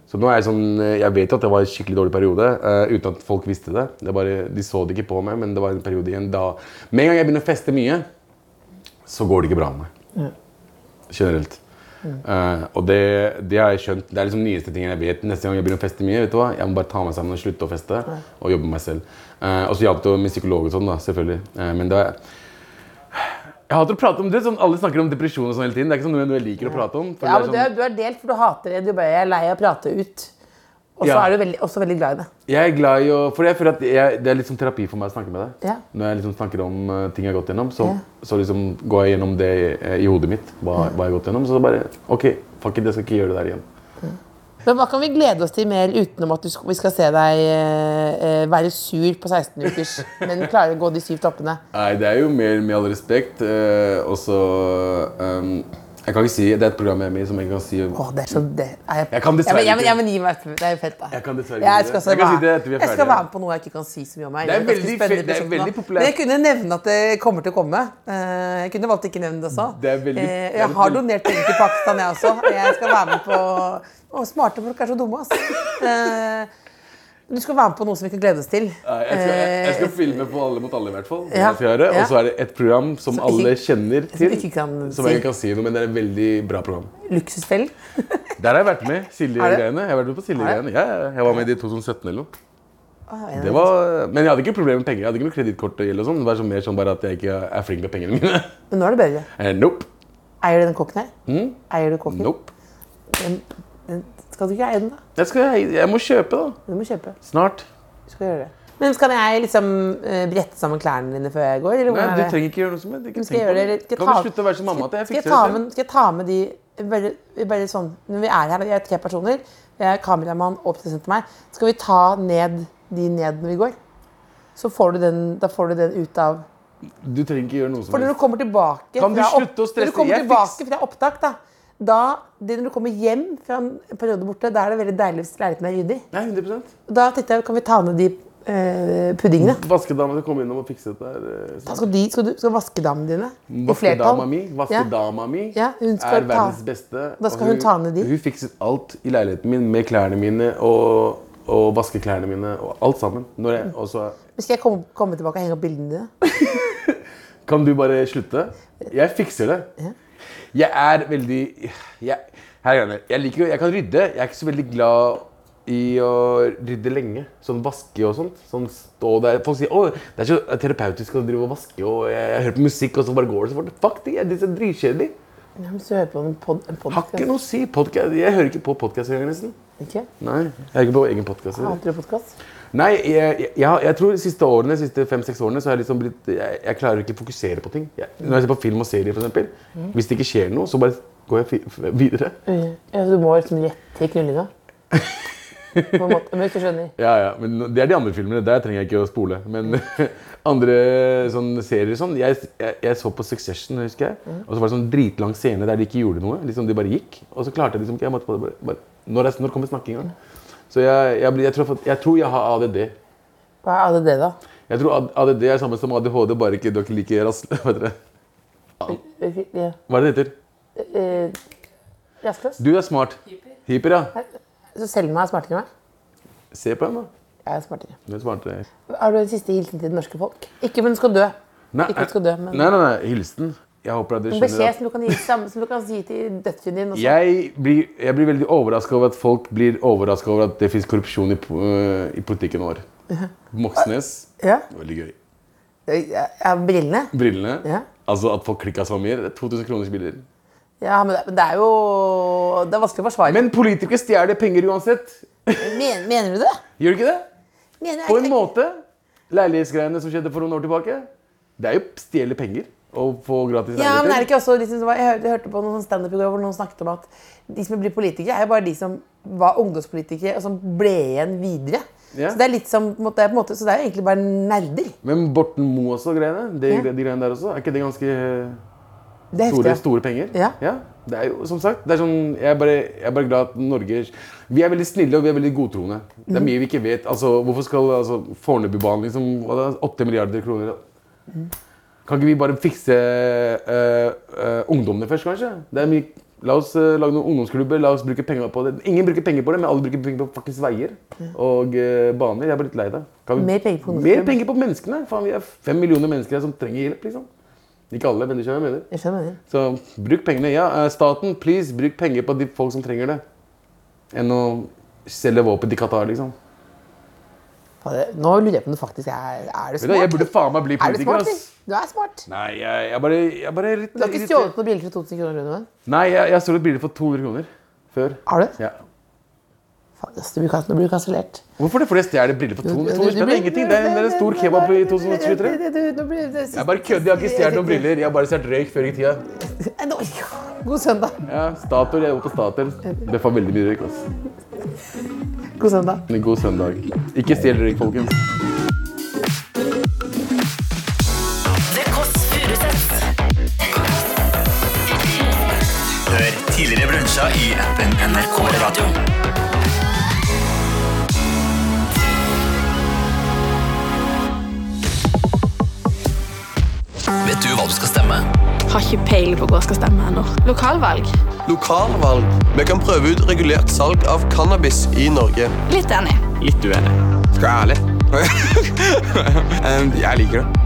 Speaker 6: Så nå er jeg sånn, eh, jeg vet jo at det var en skikkelig dårlig periode, eh, uten at folk visste det. det bare, de så det ikke på meg, men det var en periode igjen da. Med en gang jeg begynner å feste mye, så går det ikke bra med meg generelt. Eh, og det, det har jeg skjønt. Det er liksom den nyeste tingen jeg vet. Neste gang jeg begynner å feste mye, vet du hva? jeg må bare ta meg sammen og slutte å feste. Og jobbe med meg selv. Eh, og så hjalp det jo med psykolog og sånn, da, selvfølgelig. Eh, men det er Jeg hater å prate om det. Sånn, alle snakker om depresjon og sånn hele tiden. Det er ikke sånn noe jeg liker å prate om. for
Speaker 4: Ja,
Speaker 6: det er
Speaker 4: men du,
Speaker 6: sånn-
Speaker 4: er, du er delt, for du hater det. Du bare 'Jeg er lei av å prate ut'. Og så
Speaker 6: Ja.
Speaker 4: er du veldig, også veldig glad i det.
Speaker 6: Jeg er glad i å For jeg føler at jeg, det er litt som terapi for meg å snakke med deg.
Speaker 4: Ja.
Speaker 6: Når jeg liksom snakker om eh, ting jeg har gått gjennom, så,
Speaker 4: Ja.
Speaker 6: så liksom går jeg gjennom det eh, i hodet mitt. Hva, hva jeg har gått gjennom. Så bare OK, fuck it, jeg skal ikke gjøre det der igjen.
Speaker 4: Men hva kan vi glede oss til mer utenom at du, sk- vi skal se deg eh, eh, være sur på 16 ukers, men klare å gå de syv toppene?
Speaker 6: Nei, det er jo mer med all respekt. eh, og så ehm, Jeg kan ikke si Det er et program jeg er med i som jeg kan si
Speaker 4: Åh, det er så det er jeg,
Speaker 6: Jeg kan dessverre
Speaker 4: ja, men, ja, men, ja,
Speaker 6: ikke.
Speaker 4: men, gi meg et- Det er jo fett, da.
Speaker 6: Jeg kan dessverre
Speaker 4: jeg
Speaker 6: ikke det.
Speaker 4: skal, også
Speaker 6: Jeg kan
Speaker 4: være,
Speaker 6: si det etter vi er
Speaker 4: jeg skal
Speaker 6: ferdige.
Speaker 4: være med på noe jeg ikke kan si så mye om. Jeg.
Speaker 6: Det er
Speaker 4: Jeg ganske
Speaker 6: veldig
Speaker 4: spennende
Speaker 6: fe- det er
Speaker 4: person
Speaker 6: veldig
Speaker 4: nå.
Speaker 6: populært.
Speaker 4: Men jeg kunne nevne at det kommer til å komme. Eh, Jeg kunne valgt ikke å nevne det også.
Speaker 6: Det er veldig-
Speaker 4: Eh,
Speaker 6: det er
Speaker 4: Jeg har
Speaker 6: veldig-
Speaker 4: donert penger til Pakistan, jeg også. Jeg skal være med på Å, smarte folk er så dumme, ass. Eh, Du skal være med på noe som vi kan glede oss til.
Speaker 6: Nei, jeg, skal, jeg, jeg skal
Speaker 4: Eh,
Speaker 6: filme på Alle mot alle, i hvert fall. det
Speaker 4: Ja,
Speaker 6: jeg skal gjøre,
Speaker 4: ja.
Speaker 6: Og så er det et program som
Speaker 4: Som
Speaker 6: alle
Speaker 4: ikke-
Speaker 6: kjenner
Speaker 4: som
Speaker 6: til.
Speaker 4: ikke kan
Speaker 6: som jeg
Speaker 4: si.
Speaker 6: ikke kan si noe, men det er et veldig bra program.
Speaker 4: Eh, Luksusfellen.
Speaker 6: Der har jeg vært med.
Speaker 4: Er det?
Speaker 6: Silje-greiene. Jeg har vært med på Silje-greiene. Ja, ja, jeg var med i 2017 eller noe.
Speaker 4: Å,
Speaker 6: Det var, men jeg hadde ikke problemer med penger. Jeg hadde ikke noe kredittkortgjeld og sånn. Det var sånn mer sånn bare at jeg ikke er flink med pengene mine.
Speaker 4: Men nå er det bedre.
Speaker 6: Eh, Nope. Hmm?
Speaker 4: Eier du den kokken Eh, her? Eier du kokken?
Speaker 6: Nope.
Speaker 4: Den
Speaker 7: Den skal du ikke eie den, da?
Speaker 6: Jeg, skal, jeg må kjøpe, da.
Speaker 7: Du må kjøpe.
Speaker 6: Snart.
Speaker 7: Du skal gjøre det. Men skal jeg liksom eh, brette sammen klærne dine før jeg går? Eller
Speaker 6: Nei,
Speaker 7: hvordan
Speaker 6: Du
Speaker 7: er det?
Speaker 6: trenger ikke gjøre noe som helst. Ikke
Speaker 7: Skal jeg
Speaker 6: tenk på
Speaker 7: gjøre det?
Speaker 6: det.
Speaker 7: eller Skal jeg
Speaker 6: Kan
Speaker 7: ta-
Speaker 6: du slutte å være som mamma? at jeg
Speaker 7: skal jeg
Speaker 6: fikser
Speaker 7: ta
Speaker 6: det selv?
Speaker 7: med, skal jeg ta med de bare, bare sånn, Når vi er her, vi er tre personer, jeg er kameramann og produsent til meg, skal vi ta ned de ned når vi går? Så får du den, da får du den ut av
Speaker 6: Du trenger ikke gjøre noe som
Speaker 7: For når du
Speaker 6: helst.
Speaker 7: kommer tilbake
Speaker 6: Kan du
Speaker 7: fra opp-
Speaker 6: slutte å stresse?
Speaker 7: Når du kommer
Speaker 6: Jeg
Speaker 7: tilbake
Speaker 6: fiks-
Speaker 7: fra opptak, da, da det Når du kommer hjem fra en periode borte, da er det veldig deilig hvis leiligheten er ryddig.
Speaker 6: Nei, 100
Speaker 7: Og Da tenkte jeg, kan vi ta ned de eh, puddingene?
Speaker 6: Vaskedama skal komme innom og fikse dette. her, eh,
Speaker 7: Da skal, de, skal, du, skal vaskedamene dine i
Speaker 6: Vaskedama
Speaker 7: flertall
Speaker 6: mi, vaskedama mi
Speaker 7: Ja, hun skal
Speaker 6: er
Speaker 7: ta-
Speaker 6: verdens beste.
Speaker 7: Da skal
Speaker 6: og
Speaker 7: hun ta ned de.
Speaker 6: Hun fikset alt i leiligheten min med klærne mine og, og vaskeklærne mine og alt sammen. Når
Speaker 7: Mm.
Speaker 6: jeg, og så
Speaker 7: Men Skal jeg komme, komme tilbake og henge opp bildene dine?
Speaker 6: Kan du bare slutte? Jeg fikser det. Jeg er veldig jeg, her er greiene. jeg, liker, jeg kan rydde. Jeg er ikke så veldig glad i å rydde lenge. Sånn vaske og sånt. Sånn stå der. Folk sier å, det er så terapeutisk å drive og vaske, og jeg, jeg hører på musikk, og så bare går det så fort. Fuck det, jeg- det er dritkjedelig.
Speaker 4: Ja, men Hvis du hører på en, pod en
Speaker 6: Har ikke
Speaker 4: podcast
Speaker 6: noe å si. Podcast, jeg hører ikke på podkast engang, nesten.
Speaker 4: Ikke?
Speaker 6: Nei, jeg hører ikke på egen podkast.
Speaker 4: Hater du podcast?
Speaker 6: Nei, jeg, jeg, jeg, har- jeg tror de siste årene, siste fem-seks årene så har jeg liksom blitt jeg, jeg klarer ikke å fokusere på ting. Jeg, når jeg ser på film og serier, for eksempel, hvis det ikke skjer noe, så bare går jeg fi, f- videre.
Speaker 4: Ja, du må liksom gjette i knullinga. På en måte. Men hvis du skjønner.
Speaker 6: Ja, ja, men Det er de andre filmene. Der trenger jeg ikke å spole. Men andre sånn, serier sånn jeg, jeg, jeg så på Succession, husker jeg.
Speaker 4: Mm.
Speaker 6: Og så var det sånn dritlang scene der de ikke gjorde noe. Liksom De bare gikk. Og så klarte jeg liksom ikke jeg måtte bare, bare, bare, Når, er- når kommer snakkinga? Så jeg, jeg, blir- jeg, tror, jeg tror jeg har ADD.
Speaker 4: Hva er ADD, da?
Speaker 6: Jeg tror AD- ADD er samme som ADHD, bare ikke dere liker ras... Hva heter det?
Speaker 4: Ja.
Speaker 6: Hva er det det heter?
Speaker 4: Eh, Rastløs?
Speaker 6: Du er smart. Hyper. ja.
Speaker 4: Så Selma er smartere enn meg?
Speaker 6: Se på henne, da.
Speaker 4: Jeg er smartere.
Speaker 6: Du er smartere.
Speaker 4: Har du en siste hilsen til det norske folk? Ikke men du skal dø.
Speaker 6: Nei,
Speaker 4: Ikke at du skal dø, men-
Speaker 6: nei, nei, nei, hilsen. Jeg håper at dere
Speaker 4: En
Speaker 6: skjønner
Speaker 4: beskjed
Speaker 6: at
Speaker 4: som du kan gi, samme som du kan si til dødshunden din. Også.
Speaker 6: jeg blir, jeg blir veldig overraska over at folk blir overraska over at det fins korrupsjon i, po- øh, i politikken vår. Moxnes.
Speaker 4: Ja.
Speaker 6: Veldig gøy.
Speaker 4: Ja, ja, brillene.
Speaker 6: Brillene.
Speaker 4: Ja.
Speaker 6: Altså at folk klikka så mye. Det er 2000 kroners briller.
Speaker 4: Ja, men det, men det er jo Det er vanskelig å forsvare.
Speaker 6: Men politikere stjeler penger uansett.
Speaker 4: Men, mener du det?
Speaker 6: Gjør de ikke det?
Speaker 4: Mener,
Speaker 6: På en måte. Leilighetsgreiene som skjedde for noen år tilbake. Det er jo stjele penger og få gratis
Speaker 4: Ja, men er det ikke også liksom, det var- Jeg hørte, jeg hørte på noen sånn standup i går hvor noen snakket om at de som blir politikere, er jo bare de som var ungdomspolitikere og som ble igjen videre.
Speaker 6: Ja.
Speaker 4: Så det er litt som, på en måte- det er på en måte, så det er jo egentlig bare nerder.
Speaker 6: Men Borten Moe også, greiene, de,
Speaker 4: Ja.
Speaker 6: de greiene der også, er ikke det ganske eh,
Speaker 4: Det er
Speaker 6: store,
Speaker 4: heftig.
Speaker 6: store penger?
Speaker 4: Ja.
Speaker 6: Det er jo, som sagt, det er sånn, jeg, er bare, jeg er bare glad at Norge Vi er veldig snille og vi er veldig godtroende. Det
Speaker 4: Mhm.
Speaker 6: er mye vi ikke vet. Altså, hvorfor skal altså, Fornebubanen liksom, hva da, 8 milliarder kroner
Speaker 4: Mhm.
Speaker 6: Kan ikke vi bare fikse eh, eh, ungdommene først, kanskje? Det er mye, la oss eh, lage noen ungdomsklubber. la oss bruke penger på det. Ingen bruker penger på det, men alle bruker penger på faktisk veier og eh, baner. Jeg er bare litt lei det. Kan vi-
Speaker 4: Mer penger på
Speaker 6: Mer
Speaker 4: ungdomsklubber.
Speaker 6: penger på menneskene. Faen, vi er fem millioner mennesker her som trenger hjelp. liksom. Ikke alle, men du skjønner hva jeg mener.
Speaker 4: Jeg skjønner hva du mener.
Speaker 6: Så bruk pengene. Ja, eh, staten, please, bruk penger på de folk som trenger det. Enn å selge våpen til Qatar, liksom.
Speaker 4: Fader, Nå lurer jeg på om du faktisk er Er du
Speaker 6: Vet du, hva, jeg
Speaker 4: smart?
Speaker 6: burde faen meg bli
Speaker 4: Er du
Speaker 6: politiker,
Speaker 4: smart?
Speaker 6: ass.
Speaker 4: Du er smart.
Speaker 6: Nei, jeg, jeg bare jeg er bare litt
Speaker 4: Du har ikke stjålet noen biler for 2000 kroner? eller noe?
Speaker 6: Nei, jeg, jeg stjal et bilde for 200 kroner før.
Speaker 4: Har du?
Speaker 6: Ja.
Speaker 4: Faen, ass, du blir kans- Nå blir du kansellert.
Speaker 6: Hvorfor det? Fordi jeg stjeler briller for 200 200 spenn? Det er ingenting. Det er en- det er en stor kebab i 2023. Jeg bare kødder. Jeg har ikke stjålet noen briller. Jeg har bare stjålet røyk før i tida.
Speaker 4: 아, God søndag.
Speaker 6: Ja, Statoil. Jeg var på Statoil. Det var veldig mye røyk. ass.
Speaker 4: God søndag.
Speaker 6: En god søndag. Ikke stjel røyk, folkens.
Speaker 2: Det Kåss Furuseths.
Speaker 8: Hør tidligere brunsja i appen NRK Radio. Vet du hva du skal stemme?
Speaker 9: Har ikke peiling på hva jeg skal stemme ennå. Lokalvalg.
Speaker 10: Lokalvalg. Vi kan prøve ut regulert salg av cannabis i Norge.
Speaker 9: Litt enig.
Speaker 8: Litt uenig.
Speaker 10: Skal jeg ærlig? jeg liker det.